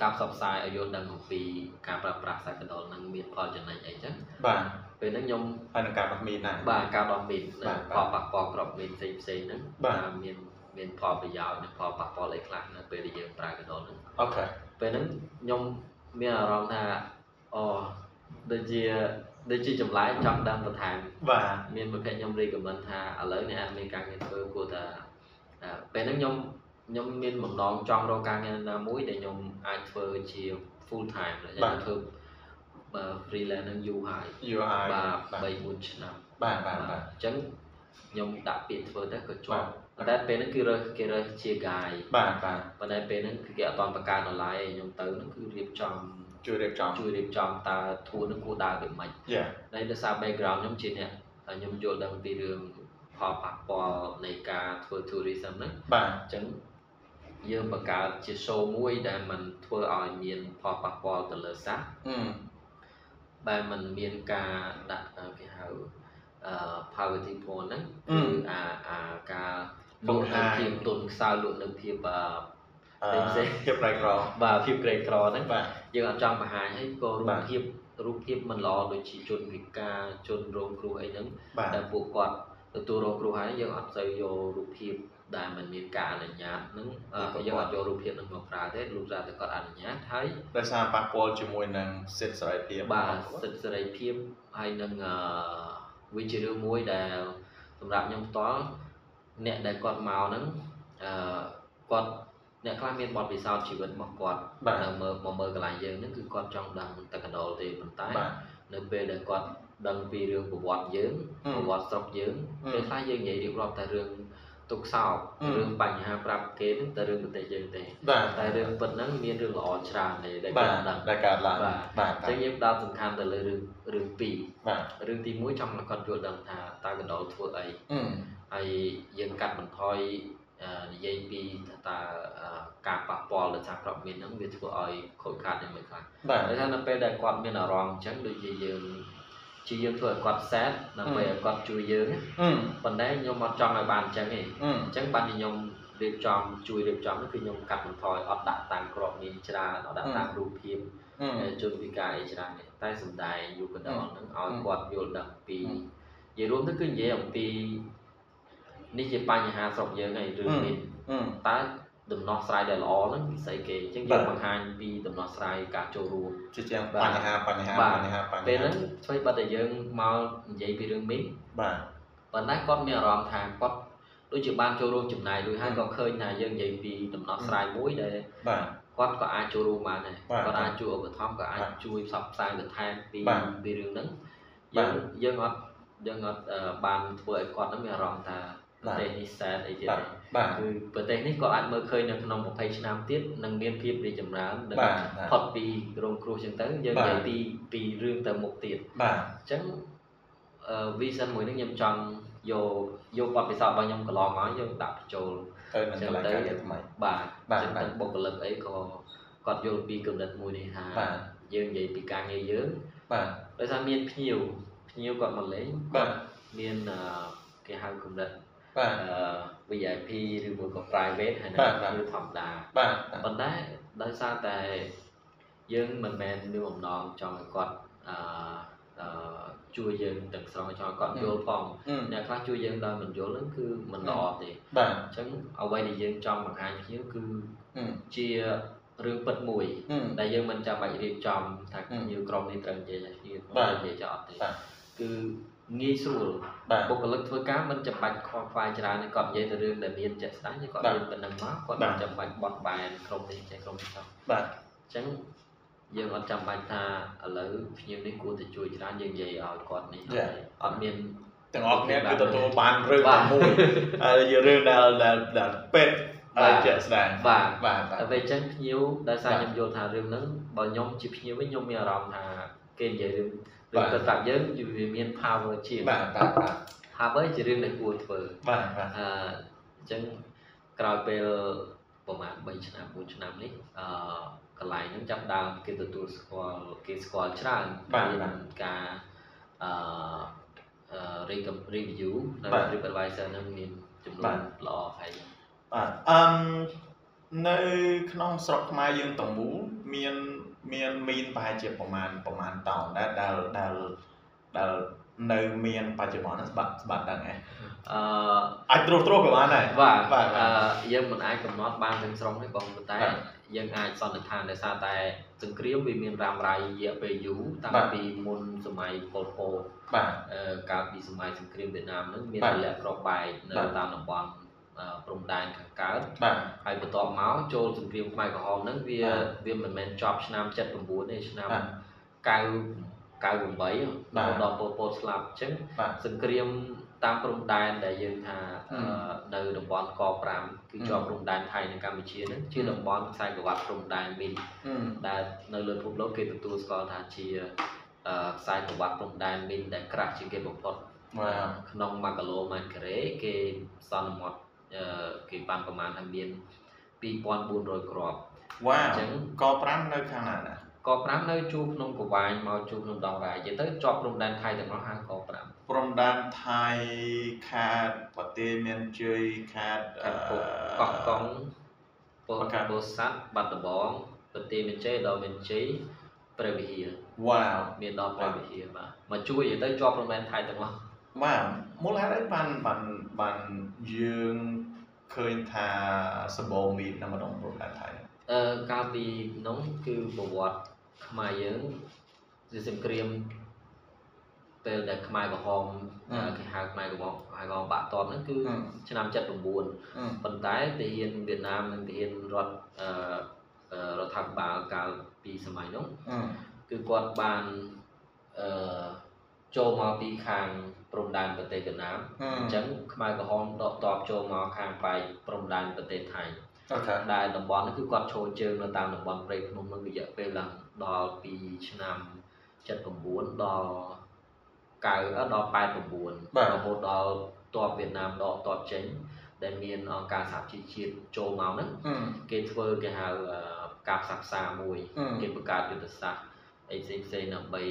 C: ការផ្សព្វផ្សាយឲ្យយល់ដឹងអំពីការប្រើប្រាស់សាកណ្ដុរនឹងមានផលចំណេញអីចឹង
B: បាទ
C: ពេលហ្នឹងខ្ញុំ
B: ហើយនឹងការបាត់មីនដែរ
C: បាទការដោះមីន
B: បាទ
C: និងផលប៉ះពាល់ក្របមីនផ្សេងផ្សេងៗហ្នឹង
B: បាទ
C: ថាមានមានផលប្រយោជន៍និងផលប៉ះពាល់អីខ្លះនៅពេលដែលយើងប្រើកណ្ដុរហ្នឹង
B: អូខេ
C: ពេលហ្នឹងខ្ញុំមានអារម្មណ៍ថាអូដូចជាដូចជាចម្លែកចង់ដឹងបន្ថែម
B: បាទ
C: មានប្រភេទខ្ញុំ recommend ថាឥឡូវអ្នកអាចមានការងារធ្វើគួរតែអ่าពេលហ្នឹងខ្ញុំខ្ញុំមានបំណងចង់រកការងារណាមួយដែលខ្ញុំអាចធ្វើជា full time ដែលខ្ញុំធ្វើបើ freelance ហ្នឹងយូរហើយ
B: UI
C: បាទ3 4ឆ្នាំ
B: បាទបា
C: បាទ ទ
B: បាទ
C: អញ្ចឹងខ្ញុំដាក់ពាក្យធ្វើទៅក៏ជា
B: បា
C: ប់
B: ទ
C: ប៉ុន្តែពេលហ្នឹងគឺរើសគេរើសជា guy
B: បាទបាទ
C: ប៉ុន្តែពេលហ្នឹងគឺគេអត់តបង្កើតអនឡាញឯងខ្ញុំទៅហ្នឹងគឺរៀបចំ
B: ជួយរៀបចំ
C: ជួយរៀបចំតើធួរហ្នឹងគួរដើរវាម៉េច
B: យ៉ា
C: ហើយដោយសារ background ខ្ញុំជាអ្នកខ្ញុំយល់ដឹងពីរឿងផលប៉ះពាល់នៃការធ្វើ tourism ហ្នឹង
B: បាទ
C: អញ្ចឹងយើងបង្កើតជា show មួយដែលมันធ្វើឲ្យមានផលប៉ះពាល់ទៅលើសាស
B: អឺ
C: បែរมันមានការដាក់អឺគេហៅអឺ poverty porn ហ្នឹងគឺអាអាការលក់នៅភាពទុនខ្សោយលក់នៅភាពអឺ
B: អឺ
C: ផ្សេងៗ
B: ភាពក្រៃក្រោ
C: បាទភាពក្រីក្រហ្នឹង
B: បាទ
C: យើងអត់ចង់បង្ហាញហើយក៏រូ
B: បា
C: ប
B: ទ
C: ភាពរូបភាពមិនល្អដូចជាជនពិការជនរងគ្រោះអីហ្នឹង
B: បាទ
C: ដែលពួកគាត់ទទួលរងគ្រោះហើយយើងអត់ទៅយករូបភាពដែលមិនមានការអនុញ្ញាតហ្នឹងអឺយើងអត់យករូបភាពហ្នឹងមកប្រើទេលោកសារតែគាត់អនុញ្ញាតហើយ
B: ដោយសារប៉ះពាល់ជាមួយនឹងសិទ្ធិសេរីភាព
C: បាទ
B: សិទ្ធិ
C: សិទ្ធិសេរីភាពហើយនឹងអឺវិជ្ជារឿងមួយដែលសម្រាប់ខ្ញុំផ្ទាល់អ្នកដែលគាត់មកហ្នឹងអឺគាត់អ្នកខ្លះមានបទពិសោធន៍ជីវិតរបស់គាត់
B: បាទ
C: នៅមើលមកមើលកន្លែងយើងហ្នឹងគឺគាត់ចង់ដឹងតែកណ្ដុរទេប៉ុន្តែ
B: បាទ
C: នៅពេលដែលគាត់ដឹងពីរឿងប្រវត្តិយើង
B: អឺ
C: ប្រវត្តិស្រុកយើង
B: អឺ
C: ពេលខ្លះយើងនិយាយរៀបរាប់តែរឿងទុកខសោក
B: អឺ
C: រឿងបញ្ហាប្រាប់គេហ្នឹងតែរឿងប្រទេសយើងទេ
B: បាទ
C: តែរឿងពិតហ្នឹងមានរឿងល្អច្រើនទេដែល
B: បា
C: គេ
B: ទ
C: អត់ដឹងអ
B: ដែលកើតឡើងបាទ
C: ញ្ចឹងយើងផ្ដោតសំខាន់ទៅលើរឿងរឿងពី
B: បាទ
C: ររឿងទី1ចង់ឲ្យគាត់យល់ដឹងថាតើកណ្ដុរធ្វើអី
B: អឺ
C: ហើយយើងកាត់បន្ថយអឺនិយាយពីថាតើអឺការប៉ះពាល់ដល់សារក្របមានហ្នឹងវាធ្វើឲ្យខូចខាតយ៉ាងម៉េចខ្លះ
B: បាទ
C: ដោយសារនៅពេលដែលគាត់មានអារម្មណ៍អញ្ចឹងដូចជាយើងជាយើងធ្វើឲ្យគាត់សែតដើម្បីឲ្យគាត់ជួយយើងណា
B: អឺ
C: ប៉ុន្តែខ្ញុំអត់ចង់ឲ្យបានអញ្ចឹងទេ
B: អឺ
C: អញ្ចឹងបានខ្ញុំរៀបចំជួយរៀបចំហ្នឹងគឺខ្ញុំកាត់បន្ថយអត់ដាក់តាំងក្របមានច្រើនអត់ដាក់តាំងរូបភាព
B: អឺ
C: ជនពិការអីច្រើនទេតែសំដែងយូកណ្ដលហ្នឹងឲ្យ
B: អឺ
C: គាត់យល់ដឹងពី
B: អឺ
C: និយាយរួមទៅគឺនិយាយអំពីនេះជាបញ្ហាស្រុកយើងហើយឬ
B: អឺ
C: នេះ
B: អឺ
C: តើដំណោះស្រាយដែលល្អហ្នឹងគឺស្អីគេអញ្ចឹង
B: បា
C: យើ
B: ទ
C: ងបង្ហាញពីដំណោះស្រាយការចូលរួម
B: ជាជាង
C: បាទ
B: បញ្ហាបញ្ហា
C: បាទ
B: បញ្ហាបញ្ហា
C: ពេលហ្នឹងស្វ័យបាត់តែយើងមកនិយាយពីរឿងមីង
B: បាទ
C: ប៉ុន្តែគាត់មានអារម្មណ៍ថាគាត់ដូចជាបានចូលរួមចំណាយរួចហើយ
B: អឺ
C: ក៏ឃើញថាយើងនិយាយពីដំណោះស្រាយមួយដែល
B: បាទ
C: គាត់ក៏អាចចូលរួមបានដែរ
B: បាទ
C: គាត់អាចជួយឧបត្ថម្ភក៏អាច
B: បាទ
C: ជួយផ្សព្វផ្សាយបន្ថែមពី
B: បាទ
C: ពីរឿងហ្នឹង
B: បា
C: យើ
B: ទ
C: ងយើងអត់យើងអត់អឺបានធ្វើឲ្យគាត់ហ្នឹងមានអារម្មណ៍ថា
B: បាទ
C: ប្រទេសនេះសែនអីទៀត
B: បាទបាទ
C: ទេគឺប្រទេសនេះក៏អាចមើលឃើញនៅក្នុង20ឆ្នាំទៀតនឹងមានភាពរីកចម្រើននឹង
B: បាទ
C: ផុតពីរងគ្រោះចឹងទៅយើងនិយាយពីពីរឿងទៅមុខទៀត
B: បាទ
C: អញ្ចឹងអឺ vision មួយនេះខ្ញុំចង់យក យកបទពិសោធន៍របស់ខ្ញុំកន្លងមកយើងដាក់បញ្ចូល
B: ទៅនឹងកន្លែងការងារថ្មី
C: បាទ
B: បាទ
C: ចឹង
B: បាទ
C: ទៅបុគ្គលិកអីក៏គាត់យល់ពីកម្រិតមួយនេះថា
B: បាទ
C: យើងនិយាយពីការងារយើង
B: បាទ
C: ដោយសារមានភ្ញៀវភ្ញៀវគាត់មកលេង
B: បាទ
C: មានអឺគេហៅកម្រិត
B: បាទ
C: អឺ VIP ឬមួយក៏ private ហើយ
B: បា
C: នឹង
B: ទបាទ
C: ភ្ញៀវធម្មតា
B: បាទ
C: ប៉ុន្តែដោយសារតែយើងមិនមែនមានបំណងចង់ឲ្យគាត់អឺអឺជួយយើងទាំងស្រុងចង់ឲ្យគាត់យល់ផង
B: អឺ
C: អ្នកខ្លះជួយយើងដោយមិនយល់ហ្នឹងគឺមិនល្អទេ
B: បាទ
C: អញ្ចឹងអ្វីដែលយើងចង់បង្ហាញភ្ញៀវគឺ
B: អឺ
C: ជារឿងពិតមួយ
B: អឺ
C: ដែលយើងមិនចាំបាច់រៀបចំថា
B: អឺ
C: ភ្ញៀវក្រុមនេះត្រូវនិយាយឲ្យភ្ញៀវ
B: បាទ
C: និយាយចោលទេ
B: បាទ
C: គឺងាយស្រួល
B: បាទ
C: បុគ្គលិកធ្វើការមិនចាំបាច់ខ្វល់ខ្វាយច្រើនទេគាត់និយាយទៅរឿងដែលមានជាក់ស្ដែងទេគាត់
B: បាទ
C: មានប៉ុណ្ណឹងមកគាត់
B: បា
C: មិន
B: ទ
C: ចាំបាច់បត់បែនក្រុមនេះចេះក្រុមនេះចោះ
B: បាទ
C: អញ្ចឹងយើងអត់ចាំបាច់ថាឥឡូវភ្ញៀវនេះគួរតែជួយច្រើនយើងនិយាយឲ្យគាត់នេះឲ្យអត់មាន
B: ទាំងអស់គ្នាគឺទទួលបានរឿងតែមួយ ហើយយើងរឿងដែលដែលដែលពេទ្យ
C: បាទ
B: ហើយជាក់ស្ដែង
C: បាទ
B: បាទបាទ
C: តែពេលអញ្ចឹងភ្ញៀវដោយសារ
B: បាទ
C: ខ្ញុំយល់ថារឿងហ្នឹងបើខ្ញុំជាភ្ញៀវវិញខ្ញុំមានអារម្មណ៍ថាគេនិយាយរឿង
B: បា
C: រឿ
B: ទ
C: ងទៅតាប់យើងវាវាមាន power ជាង
B: បាទបាទបាទ
C: ហើយជារឿងដែលគួរធ្វើ
B: បាទបាទ
C: អឺអញ្ចឹងក្រោយពេលប្រហែល3ឆ្នាំ4ឆ្នាំនេះអឺកន្លែងហ្នឹងចាប់ផ្ដើមគេទទួលស្គាល់គេស្គាល់ច្រើនមានការអឺអឺ re- review នៅ TripAdvisor ហ្នឹងមានចំនួនល្អហើយ
B: បាទអឹមនៅក្នុងស្រុកខ្មែរយើងទាំងមូលមានមានមីនប្រហែលជាប្រមាណប្រមាណតោនដែរដែលដែលដែលនៅមានបច្ចុប្បន្នហ្នឹងស្បាត់ស្បាត់ដឹងឯង
C: អឺ
B: អាចត្រួសត្រាសក៏បានដែរ
C: បាទ
B: បា
C: បាទ ទ
B: បាទ
C: អឺយើងមិនអាចកំណត់បានទាំងស្រុងទេបងប៉ុន្តែ
B: បាទ
C: យើងអាចសន្និដ្ឋានដោយសារតែសង្គ្រាមវាមានរ៉ាំរ៉ៃរយៈពេលយូរតាំង
B: បាទ
C: ពីមុនសម័យប៉ុលពត
B: បាទ
C: អឺកាលពីសម័យសង្គ្រាមវៀតណាមហ្នឹងមាន
B: បាទ
C: រលាក់ក្របបែកនៅ
B: បាទ
C: តាមតំបន់អឺព្រំដែនខាងកើត
B: បាទ
C: ហើយបន្ទាប់មកចូលសង្គ្រាមខ្មែរក្រហមហ្នឹងវា
B: បាទ
C: វាមិនមែនចប់ឆ្នាំ79ទេឆ្នាំ
B: បាទ
C: 9 98
B: បាទ
C: ដល់ប៉ុលពតស្លាប់អញ្ចឹង
B: បាទ
C: សង្គ្រាមតាមព្រំដែនដែលយើងថាអឺ
B: អឺ
C: នៅតំបន់ក5គឺជាប់ព្រំដែនថៃនិងកម្ពុជាហ្នឹងជា
B: អឺ
C: តំបន់ខ្សែក្រវ៉ាត់ព្រំដែនមីន
B: អឺ
C: ដែលនៅលើពិភពលោកគេទទួលស្គាល់ថាជាអឺខ្សែក្រវ៉ាត់ព្រំដែនមីនដែលក្រាស់ជាងគេបំផុត
B: បាទ
C: ក្នុង1គីឡូម៉ែត្រការ៉េគេសន្មតអឺគេបានប្រមាណថាមាន2400គ្រាប់
B: វ៉ា
C: អ
B: វ
C: ញ្ចឹង
B: ក5នៅខាងណាណា
C: ក5នៅជួរភ្នំកង្វាញមកជួរភ្នំដងរ៉ែនិយាយទៅជាប់ព្រំដែនថៃទាំងអស់ហៅក5
B: ព្រំដែនថៃខាតប្រទេសមានជ័យខាតអឺ
C: ខាត់ពុកកោះកុងព
B: ប្រ
C: ក
B: កាស
C: បូសាត់បាត់ដំបងប្រទេសមានជ័យដល់មានជ័យព្រះវិហារ
B: វ៉ាវ
C: មានដល់ព្រះវិហារបាទមកជួយនិយាយទៅជាប់ព្រំដែនថៃទាំងអស់
B: វ៉ាវមូលហេតុអីបានបានបានយើងឃើញថាសបោមីតនៅម្ដងព្រំដែនថៃហ្នឹង
C: អឺកាលពីនោះគឺប្រវត្តិខ្មែរយើងគឺសង្គ្រាមពេលដែលខ្មែរក្រហមអឺគេហៅខ្មែរក្រហមខ្មែរក្រហមបាក់តបហ្នឹងគឺ
B: អឺ
C: ឆ្នាំ79
B: អឺ
C: ប៉ុន្តែទាហានវៀតណាមនិងទាហានរដ្ឋអឺអឺរដ្ឋាភិបាលកាលពីសម័យនោះ
B: អឺ
C: គឺគាត់បានអឺចូលមកពីខាងព្រំដែនប្រទេសវៀតណាម
B: អ
C: អ
B: ឺ
C: ញ្ចឹងខ្មែរក្រហមដកតបចូលមកខាងបែកព្រំដែនប្រទេសថៃ
B: អូខេ
C: ដែលតំបន់នេះគឺគាត់ឈរជើងនៅតាមតំបន់ព្រៃភ្នំនឹងរយៈពេលឡើងដល់ពីឆ្នាំ79ដល់9អឺដល់89រហូតដល់តបវៀតណាមដកតបចេញ ដែលមានអង្គការសហជីវជាតិចូលមកហ្នឹង
B: អឺ
C: គេធ្វើគេហៅអឺការផ្សះផ្សាមួយ
B: អឺ
C: គេបង្កើតយុទ្ធសាស្ត្រអីផ្សេងផ្សេងៗដើម្បី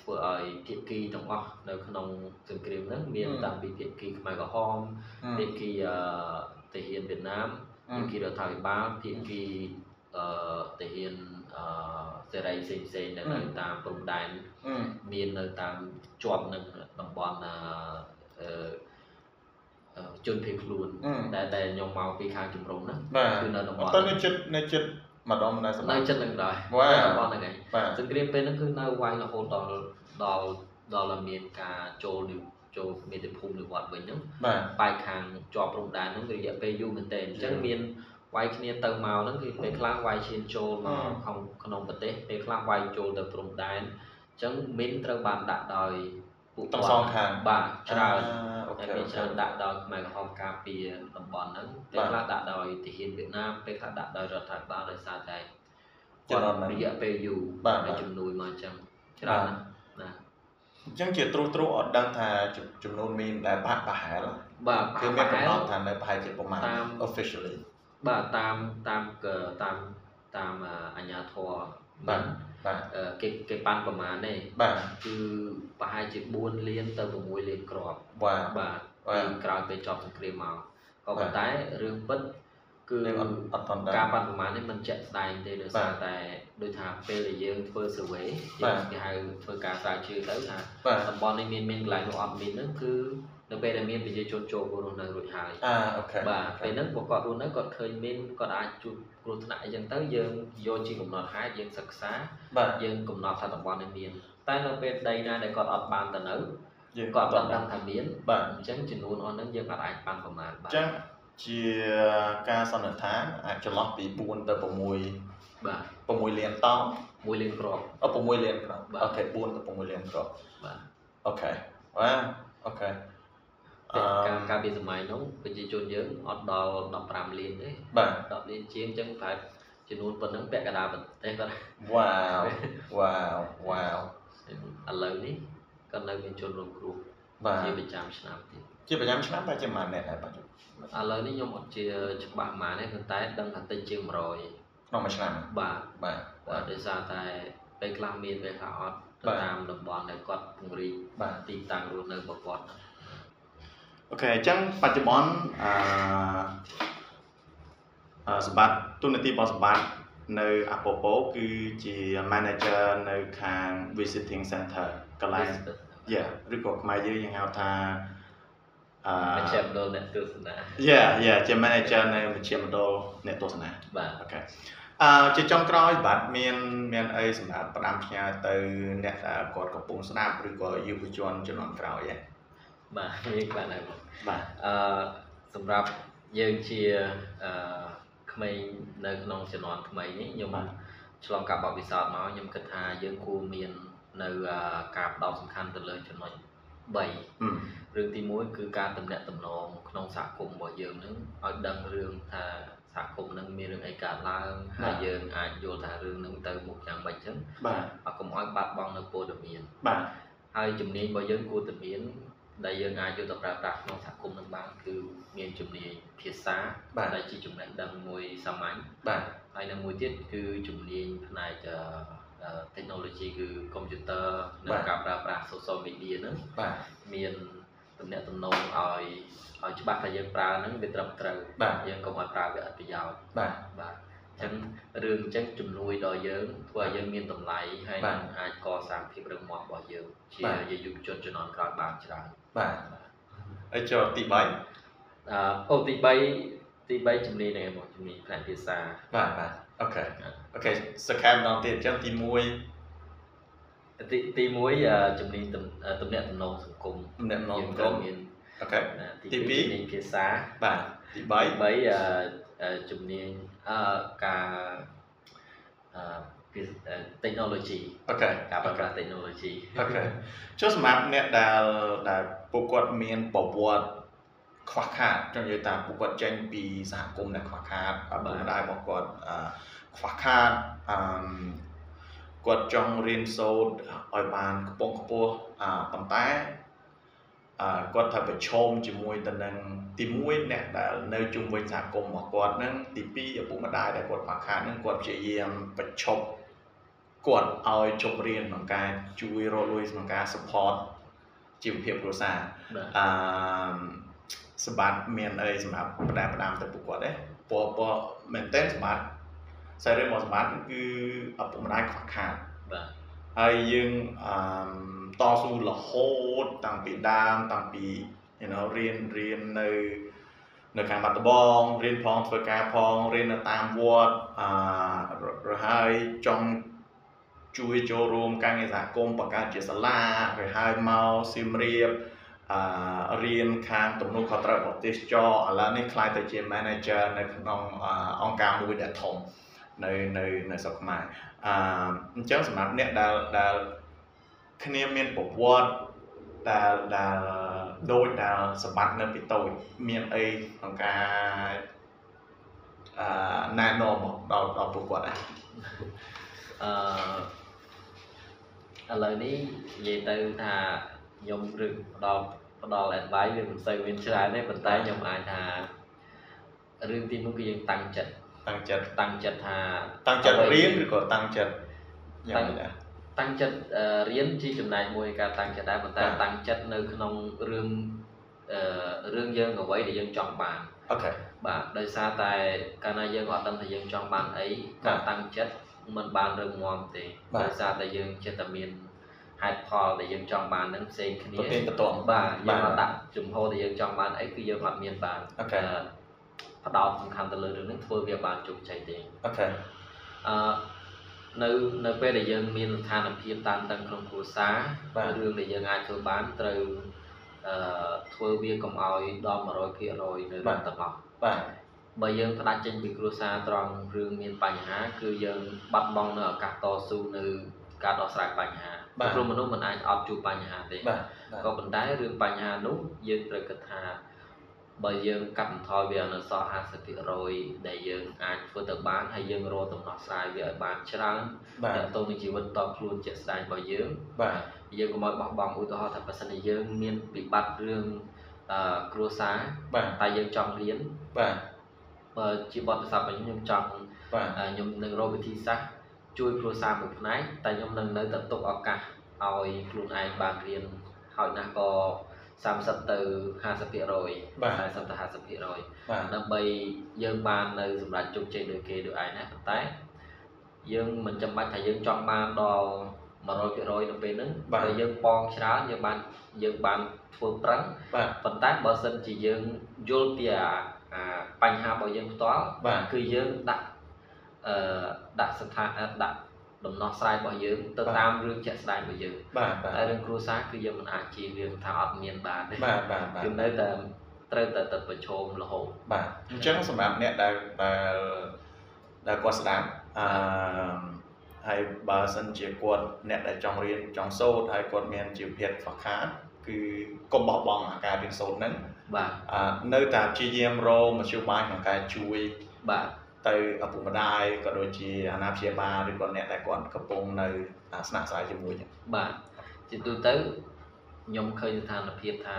C: ធ្វើឲ្យភាគីទាំងអស់នៅក្នុងសង្គ្រាមហ្នឹងមានតាំងពីភាគីខ្មែរក្រហមភាគីអឺទាហានវៀតណាម
B: អឺ
C: ភាគីរដ្ឋាភិបាលភាគីអឺទាហានអឺសេរីផ្សេងផ្សេងៗដែលនៅតាមព្រំដែន
B: អឺ
C: មាននៅតាមជាប់នឹងតំបន់អឺអឺអឺជនភៀសខ្លួន
B: អឺ
C: ដែលដែលខ្ញុំមកពីខាងជំរំហ្នឹង
B: បាទ
C: គឺនៅតំប
B: អត់
C: ន់
B: ទៅ
C: ហ្នឹ
B: នៅ
C: ង
B: ចិត្តនៅចិត្តម្ដងដែរស
C: នៅ
B: ម្រាប់
C: ចិត្តហ្នឹងដែរ
B: វ៉ាវ
C: តំបន់ហ្នឹងឯង
B: បាទ
C: សង្គ្រាមពេលហ្នឹងគឺនៅវាយរហូតដល់ដល់ដល់តែមានការចូលនិចូលមេតិភូមិនិវត្តន៍វិញហ្នឹង
B: បាទ
C: បែកខាងជាប់ព្រំដែនហ្នឹងរយៈពេលយូរមែនទែនអញ្ចឹងមានវាយគ្នាទៅមកហ្នឹងគឺពេលខ្លះវាយឈានចូលមកក្នុងក្នុងប្រទេសពេលខ្លះវាយចូលទៅព្រំដែនអញ្ចឹងមីនត្រូវបានដាក់ដោយពួក
B: ទាំងសងខាង
C: បាទច្រើន
B: អឺអូខេ
C: តែពេល
B: អូខេ
C: ច្រើនដាក់ដោយខ្មែរក្រហមការពារតំបន់ហ្នឹង
B: បា
C: ពេល
B: ទ
C: ខ្លះដាក់ដោយទាហានវៀតណាមពេលខ្លះដាក់ដោយរដ្ឋាភិបាលដោយសារតែ
B: ចរន្តហ្នឹង
C: រយៈពេលយូរ
B: បាទ
C: ហើយ
B: បាទ
C: ជំនួយមកអញ្ចឹង ច្រើនណាស់ណា
B: អញ្ចឹងជាត្រុសត្រុសអត់ដឹងថាចំនួនមីនដែលបាក់ប្រហែល
C: បាទ
B: គឺមានកំណត់ថានៅប្រហែលជាប្រមាណ
C: តាម
B: officially
C: បាទតាមតាមកតាមតាមអញ្ញាធរ
B: បាទបាទ
C: អឺគេគេប៉ាន់ប្រមាណទេ
B: បាទ
C: គឺប្រហែលជា4លានទៅ6លានគ្រាប់
B: វ៉ា
C: បាទ
B: បាទ
C: ពីក្រោយពេលចប់សង្គ្រាមមកក៏ប៉ុន្តែរឿងពិតគឺ
B: វអត់អត់តន់ដឹង
C: ការបាត់ប្រមាណនេះมันជាក់ស្ដែងទេដោយសារ
B: បាទ
C: តែដូចថាពេលដែលយើងធ្វើ survey
B: បាទ
C: យើងគេហៅធ្វើការស្រាវជ្រាវទៅថា
B: បាទ
C: តំបន់នេះមានមានកន្លែងនោះអត់មានហ្នឹងគឺនៅពេលដែលមានប្រជាជនចូលរស់នៅរួចហើយ
B: អាអូខេ
C: បាទពេលហ្នឹងពួកគាត់រស់នៅគាត់ឃើញមានគាត់អាចជួបគ្រោះថ្នាក់អីចឹងទៅយើងយកជាកំណត់ហេតុយើងសិក្សា
B: បាទ
C: យើងកំណត់ថាតំបន់នេះមានតែនៅពេលដីណាដែលគាត់អត់បានទៅនៅ
B: យើង
C: គាត់អត់ដឹងថាមាន
B: បាទ
C: អញ្ចឹងចំនួនអស់ហ្នឹងយើងអត់អាចបានប្រមាណ
B: អ
C: បាន
B: ញ្ចឹងជាការសន្និដ្ឋានអាចចន្លោះពី4ទៅ6
C: បាទ
B: 6លានតោន
C: មួយលានគ្រាប់
B: អ6លានក្រោម
C: បាទ
B: អូខេ4ទៅ6លានក្រោម
C: បាទ
B: អូខេវ៉ាអូខេអឺ
C: ការការពីសម័យនោះប្រជាជនយើងអត់ដល់15លានទេ
B: បាទ
C: 10លានជាងអញ្ចឹងប្រហែលចំនួនប៉ុណ្ណឹងពាក់កណ្ដាលប្រទេសគាត់
B: វ៉ា វវ៉ាវវ៉ាវ
C: ឥឡូវនេះក៏នៅមានជនរងគ្រោះ
B: បាទ
C: ជាប្រចាំឆ្នាំទៀត
B: ជាប្រចាំឆ្នាំបាទជាប្រមាណអ្នកដែរបាទ
C: ឥឡូវនេះខ្ញុំអត់ជាច្បាស់ប៉ុន្មានទេប៉ុន្តែដឹងថាតិចជាង100
B: ក្នុងមួយឆ្នាំ
C: បាទ
B: បាទ
C: បា
B: បាទ ទ
C: ដោយសារតែពេលខ្លះមានពេលខ្លះអត់
B: បាទ
C: ទៅតាមតំបន់ដែលគាត់ពង្រីក
B: បាទ
C: ទីតាំងរស់នៅរបស់គាត់ហ្នឹង
B: អូខេអញ្ចឹងបច្ចុប្បន្នអឺអឺសម្បត្តិទូនាទីរបស់សម្បត្តិនៅអពពោគឺជា manager នៅខាង visiting center កន្លែង yeah ឬក៏ខ្មែរយើងយើងហៅថាអ
C: មជ្ឈ
B: ឺ
C: មណ្ឌលអ្នកទស្សនា
B: Yeah yeah ជា manager នៅមជ្ឈមណ្ឌលអ្នកទស្សនា
C: បាទ
B: អូខេអឺជាចុងក្រោយបាទមានមានអីសម្រាប់ផ្ដាំផ្ញើទៅអ្នកដែលគាត់កំពុងស្ដាប់ឬក៏យុវជនជំនាន់ក្រោយហ៎
C: បាទមានបានហើយ
B: បាទ
C: អឺសម្រាប់យើងជាអឺក្មេងនៅក្នុងជំនាន់ថ្មីនេះខ្ញុំឆ្លងកាត់បទពិសោធន៍មកខ្ញុំគិតថាយើងគួរមាននៅអឺការផ្ដោតសំខាន់ទៅលើចំណុច3
B: អឺ
C: រឿងទី1គឺការតំណាក់តំណងក្នុងសហគមន៍របស់យើងនឹងឲ្យដឹងរឿងថាសហគមន៍នឹងមានរឿងអីកើតឡើងហើយយើងអាចយល់ថារឿងនឹងទៅមុខយ៉ាងម៉េចចឹង
B: បាទ
C: អត់កុំឲ្យបាត់បង់នៅព័ត៌មាន
B: បាទ
C: ហើយជំនាញរបស់យើងគួរតែមានដែលយើងអាចយកទៅប្រើប្រាស់ក្នុងសហគមន៍នឹងបានគឺមានជំនាញភាសា
B: បាទ
C: ដែលជាចំណេះដឹងមួយសាមញ្ញ
B: បាទ
C: ហើយនៅមួយទៀតគឺជំនាញផ្នែកអឺអឺ technology គឺ computer និងការប្រើប្រាស់ social media ហ្នឹង
B: បាទ
C: មានទំនាក់ទំនងឲ្យឲ្យច្បាស់ថាយើងប្រើហ្នឹងវាត្រឹមត្រូវ
B: បាទ
C: យើងកុំឲ្យប្រើវាអត់ប្រយោជន៍
B: បាទ
C: បាទអញ្ចឹងរឿងអញ្ចឹងជំនួយដល់យើងធ្វើឲ្យយើងមានតម្លៃហើយ
B: បាទ
C: នឹងអាចកសាងភាពរឹងមាំរបស់យើងជា
B: បាទ
C: យុវជនជំនាន់ក្រោយបានច្រើន
B: បាទអីចូលទី3បាទ
C: អឺអូទី3ទី3ជំនាញហ្នឹងឯងបងជំនាញផ្នែកភាសា
B: បាទអូខេអូខេសង្ខេបម្ដងទៀតអញ្ចឹងទី1
C: ទីទី1ជំនាញទំអឺទំនាក់ទំនងសង្គម
B: ដំណាក់នង
C: យើង
B: ក្រុម
C: ត្រូវមាន
B: អូខេ
C: អឺ
B: ទី
C: ទី
B: ពីរ
C: 2ជំនាញភាសា
B: បាទទី
C: ទី
B: 3
C: 3អឺអឺជំនាញអឺការអឺភាសាអឺ technology
B: អូខេ
C: ការប្រើ
B: អូខេ
C: ប្រាស់ technology
B: អូខេ ចុះសម្រាប់អ្នកដែលដែលពួកគាត់មានប្រវត្តិខ្វះខាតចង់និយាយតាមពួកគាត់ចេញពីសហគមន៍ដែលខ្វះខាត
C: បាទ
B: ឪពុកម្ដាយរបស់គាត់អឺខ្វះខាតអឺគាត់ចង់រៀនសូត្រឲ្យបានខ្ពង់ខ្ពស់អឺប៉ុន្តែអឺគាត់ថាប្រឈមជាមួយទៅនឹងទី1អ្នកដែលនៅជុំវិញសហគមន៍របស់គាត់ហ្នឹងទី2ឪពុកម្ដាយដែលគាត់ខ្វះខាតហ្នឹងគាត់ព្យាយាមប្រឈប់គាត់ឲ្យជប់រៀនក្នុងការជួយរកលុយក្នុងការ support ជីវភាពគ្រួសារ
C: បាទ
B: អឺសម្បត្តិមានអីសម្រាប់ផ្ដែផ្ដាំទៅពួកគាត់ទេព្រោះព្រោះមែនតើសម្បត្តិសាយរឿងរបស់សម្បត្តិគឺអពុកម្ដាយខ្វះខាត
C: បាទ
B: ហើយយើងអឺតស៊ូរហូតតាំងពីដើមតាំងពី you know រៀនរៀននៅនៅខាងបាត់ដំបងរៀនផងធ្វើការផងរៀននៅតាមវត្តអឺរហើយចង់ជួយចូលរួមការងារសហគមន៍បង្កើតជាសាលារហើយមកសៀមរាប អឺរៀនខាងទំនួលខុសត្រូវរបស់ទេសចរឥឡូវនេះខ្លាយទៅជា manager នៅក្នុងអឺអង្គការមួយដែលធំនៅនៅនៅស្រុកខ្មែរអឺអញ្ចឹងសម្រាប់អ្នកដែលដែលគ្នាមានប្រវត្តិដែលដែលដូចដែលសម្បត្តិនៅពីតូចមានអីក្នុងការអឺណែនាំមកដល់ដល់ពួកគាត់ដែរ
C: អឺអ ឥឡូវនេះនិយាយទៅថាខ្ញុំឬផ្ដល់ផ្ដល់ advice វាមិនសូវមានច្រើនទេប៉ុន្តែខ្ញុំអាចថារឿងទីមួយគឺយើងតាំងចិត្ត
B: តាំងចិត្ត
C: តាំងចិត្តថា
B: តាំងចិត្តរៀនឬក៏តាំងចិត្តយ៉ាងណា
C: តាំងចិត្តអឺរៀនជាចំណែកមួយនៃការតាំងចិត្តដែរប៉ុន្តែ
B: បាទ
C: តាំងចិត្តនៅក្នុងរឿងអឺរឿងយើងអ្វីដែលយើងចង់បាន
B: អូខេ
C: បាទដោយសារតែកាលណាយើងអត់ដឹងថាយើងចង់បានអី
B: បាទ
C: ការតាំងចិត្តมันបានរឹងមាំទេ
B: បាទ
C: ដោយសារតែយើងចិត្តតែមានហេតុផលដែលយើងចង់បាននឹងផ្សេងគ្នា
B: ប្រទៀងបន្ទាត់
C: បាទយើង
B: បាទ
C: អត់ដាក់ជំហរដែលយើងចង់បានអីគឺយើងអត់មានបាន
B: អូខេ
C: អឺផ្ដោតសំខាន់ទៅលើរឿងនេះធ្វើវាបានជោគជ័យទេ
B: អូខេ
C: អឺនៅនៅពេលដែលយើងមានស្ថានភាពតានតឹងក្នុងគ្រួសារ
B: បាទ
C: រឿងដែលយើងអាចធ្វើបានត្រូវអឺធ្វើវាកុំឲ្យដល់100%នៅ
B: បា
C: បា
B: ទ
C: ត់ទាំងអស់
B: បាទ
C: បើយើងផ្ដាច់ចេញពីគ្រួសារត្រង់រឿងមានបញ្ហា គឺយើងបាត់បង់នៅឱកាសតស៊ូនៅការដោះស្រាយបញ្ហា
B: បាទ
C: ព្រោះមនុស្សមិនអាចអត់ជួបបញ្ហាទេ
B: បាទ
C: ក៏ប៉ុន្តែរឿងបញ្ហានោះយើងត្រូវគិតថាបើយើងកាត់បន្ថយវានៅសល់50%ដែលយើងអាចធ្វើទៅបានហើយយើងរកដំណោះស្រាយវាឲ្យបានច្រើន
B: បា
C: តា
B: ទ
C: ក់ទងនឹងជីវិតតបខ្លួនជាក់ស្ដែងរបស់យើង
B: បាទ
C: យើងកុំឲ្យបោះបង់ឧទាហរណ៍ថាបើសិនជាយើងមានវិបត្តិរឿងអឺគ្រួសារ
B: បាទ
C: តែយើងចង់រៀន
B: បាទ
C: បើជាបទពិសោធន៍របស់ខ្ញុំខ្ញុំចង់
B: បាទ
C: អឺខ្ញុំនឹងរកវិធីសាស្ត្រជួយគ្រួសារមួយផ្នែកតែខ្ញុំនឹងនៅតែទុកឱកាសឲ្យខ្លួនឯងបានរៀនហើយណាស់ក៏30ទៅ
B: បាទ
C: 50% 40ទៅ50%ដើម្បីយើងបាននៅសម្រាប់ជោគជ័យដូចគេដូចឯងណាប៉ុន្តែយើងមិនចាំបាច់ថាយើងចង់បានដល់100%នៅពេលហ្នឹងតែយើងបងច្រើនយើងបានយើងបានធ្វើប្រឹង
B: បាទ
C: ប៉ុន្តែបើសិនជាយើងយល់ពីអាអាបញ្ហារបស់យើងផ្ទាល់
B: បាទ
C: គឺយើងដាក់អឺដាក់ស្ថានអឺដាក់ដំណោះស្រាយរបស់យើងទៅ
B: បាទ
C: តាមរឿងជាក់ស្ដែងរបស់យើង
B: បាទបាទ
C: តែរឿងគ្រួសារគឺយើងមិនអាចជៀសវាងថាអត់មានបានទេ
B: បាទបាទបាទ
C: គឺនៅតែត្រូវតែទៅប្រឈមរហូត
B: បាទអញ្ចឹងសម្រាប់អ្នកដែលដែលដែលគាត់ស្ដាប់អឺហើយបើសិនជាគាត់អ្នកដែលចង់រៀនចង់សូត្រហើយគាត់មានជីវភាពខ្វះខាតគឺកុំបោះបង់អាការរៀនសូត្រហ្នឹង
C: បាទ
B: អឺនៅតែព្យាយាមរកមធ្យោបាយក្នុងការជួយ
C: បាទ
B: ទៅឪពុកម្ដាយក៏ដូចជាអាណាព្យាបាលឬក៏អ្នកដែលគាត់កំពុងនៅអាស្នាក់ស្រាយជាមួយហ្នឹង
C: បាទជាទូទៅខ្ញុំឃើញស្ថានភាពថា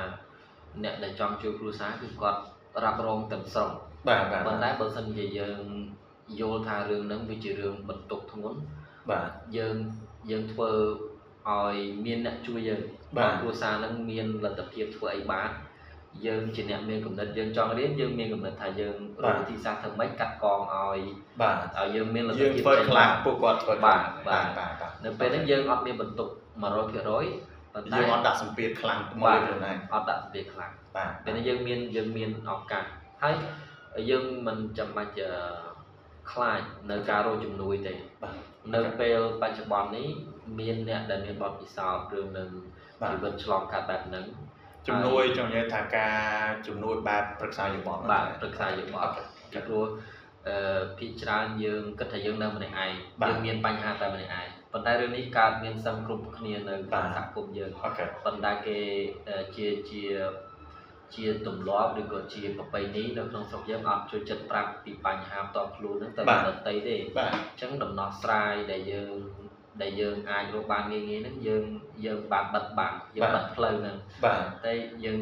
C: អ្នកដែលចង់ជួយគ្រួសារគឺគាត់រ៉ាប់រងទាំងស្រុង
B: បាទបាទ
C: ប៉ុន្តែបើសិនជាយើងយល់ថារឿងហ្នឹងវាជារឿងបន្ទុកធ្ងន់
B: បាទ
C: យើងយើងធ្វើឲ្យមានអ្នកជួយយើង
B: បាទ
C: ឲ្យគ្រួសារហ្នឹងមានលទ្ធភាពធ្វើអីបានយើងជាអ្នកមានកំណត់យើងចង់រៀនយើងមានកំណត់ថាយើងរកវិធីសាស្ត្រធ្វើម៉េចកាត់កងឲ្យ
B: បាទ
C: ឲ្យយើងមានលទ្ធ
B: យើង
C: ភាព
B: ធ្វើ
C: ចេញ
B: ខ្លះ
C: បាន
B: ពួកគាត់ធ្វើខ្លះ
C: បាទបាទ
B: បាទបាទ
C: នៅពេលហ្នឹងយើងអត់មានបន្ទុក100%ប៉ុន្តែ
B: យើងអត់ដាក់សម្ពាធខ្លាំងមក
C: បាទ
B: លើខ្លួនឯង
C: អត់ដាក់សម្ពាធខ្លាំង
B: បាទ
C: ពេលនេះយើងមានយើងមានឱកាសហើយយើងមិនចាំបាច់អឺខ្លាចនៅការរកជំនួយទេ
B: បាទ
C: នៅពេលបច្ចុប្បន្ននេះមានអ្នកដែលមានបទពិសោធន៍រឿងនឹង
B: បាទ
C: ជីវិតឆ្លងកាត់បែបហ្នឹង
B: ជំនួយចង់និយាយថាការជំនួយបែបប្រឹក្សាយោបល់ហ្នឹង
C: បាទប្រឹក្សាយោបល់
B: អូខេ
C: ពីព្រោះអឺភាគច្រើនយើងគិតថាយើងនៅម្នាក់ឯង
B: បាទ
C: យើងមានបញ្ហាតែម្នាក់ឯងប៉ុន្តែរឿងនេះកើតមានសឹងគ្រប់គ្នានៅ
B: បា
C: ក្នុង
B: ទ
C: សហគមន៍យើង
B: អូខេ
C: ប៉ុន្តែគេអឺជាជាជាទម្លាប់ឬក៏ជាប្រពៃណីនៅក្នុងស្រុកយើងអត់ចូលចិត្តប្រាប់ពីបញ្ហាផ្ទាល់ខ្លួនហ្នឹងទៅដល់ដតីទេអ
B: បាទ
C: ញ្ចឹងដំណោះស្រាយដែលយើងដែលយើងអាចរកបានងាយងាយហ្នឹងយើងយើងបានបិទបាំងយើងបិទផ្លូវហ្នឹង
B: បាទ
C: តែយើង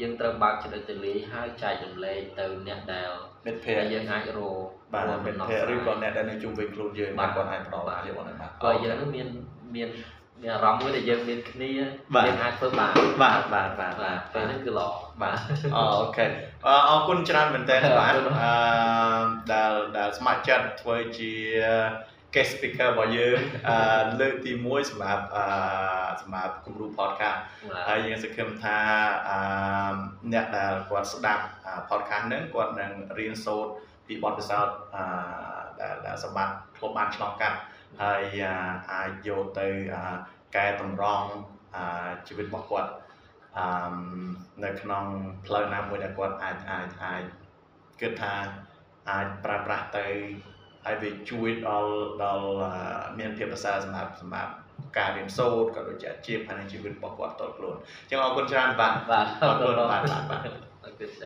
C: យើងត្រូវបើកចិត្តឲ្យទូលាយហើយចែករំលែកទៅអ្នកដែល
B: មិត្តភ័
C: ដែល
B: ក្តិ
C: យើងអាចរក
B: បាទ
C: រក
B: មិត្ត
C: ដំណោះ
B: ភ័ក្តិ
C: ស្រា
B: ឬ
C: យ
B: ក៏អ្នកដែលនៅជុំវិញខ្លួនយើង
C: បាទ
B: ដែលគាត់អាចផ្ដល់
C: បាទ
B: យោបល់ហ្នឹងបាទ
C: ព្រោះយើងហ្នឹងមានមានមានអារម្មណ៍មួយដែលយើងមានគ្នា
B: បាទ
C: យើងអាចធ្វើបាន
B: បាទបាទបាទ
C: បាទពេលហ្នឹងគឺល្អ
B: បាទអូខេអរអរគុណច្រើនមែនតើបាទ
C: អរគុណ
B: អឺដែលដែលស្ម័គ្រចិត្តធ្វើជា guest speaker របស់ យើងអឺលើកទី1សម្រាប់អឺសម្រាប់គំរូ podcast
C: បាទ
B: ហើយយើងសង្ឃឹមថាអឺអ្នកដែលគាត់ស្ដាប់អា podcast ហ្នឹងគាត់នឹងរៀនសូត្រពីបទពិសោធន៍អឺដែលដែលសម្បត្តិខ្លួនបានឆ្លងកាត់ហើយអាអាចយកទៅអាកែតម្រង់អាជីវិតរបស់គាត់អឺនៅក្នុងផ្លូវណាមួយដែលគាត់អាចអាចអាចគិតថាអាចប្រើប្រាស់ទៅហើយវាជួយដល់ដល់អាមានភាពប្រសើរសម្រាប់សម្រាប់ ការរៀនសូត្រក៏ដូចជាអាជីពហើយនឹងជីវិតរបស់គាត់ផ្ទាល់ខ្លួនអញ្ចឹងអរគុណច្រើនបាទ
C: បាទ
B: អរគុណបាទបាទបាទ
C: អរគុណ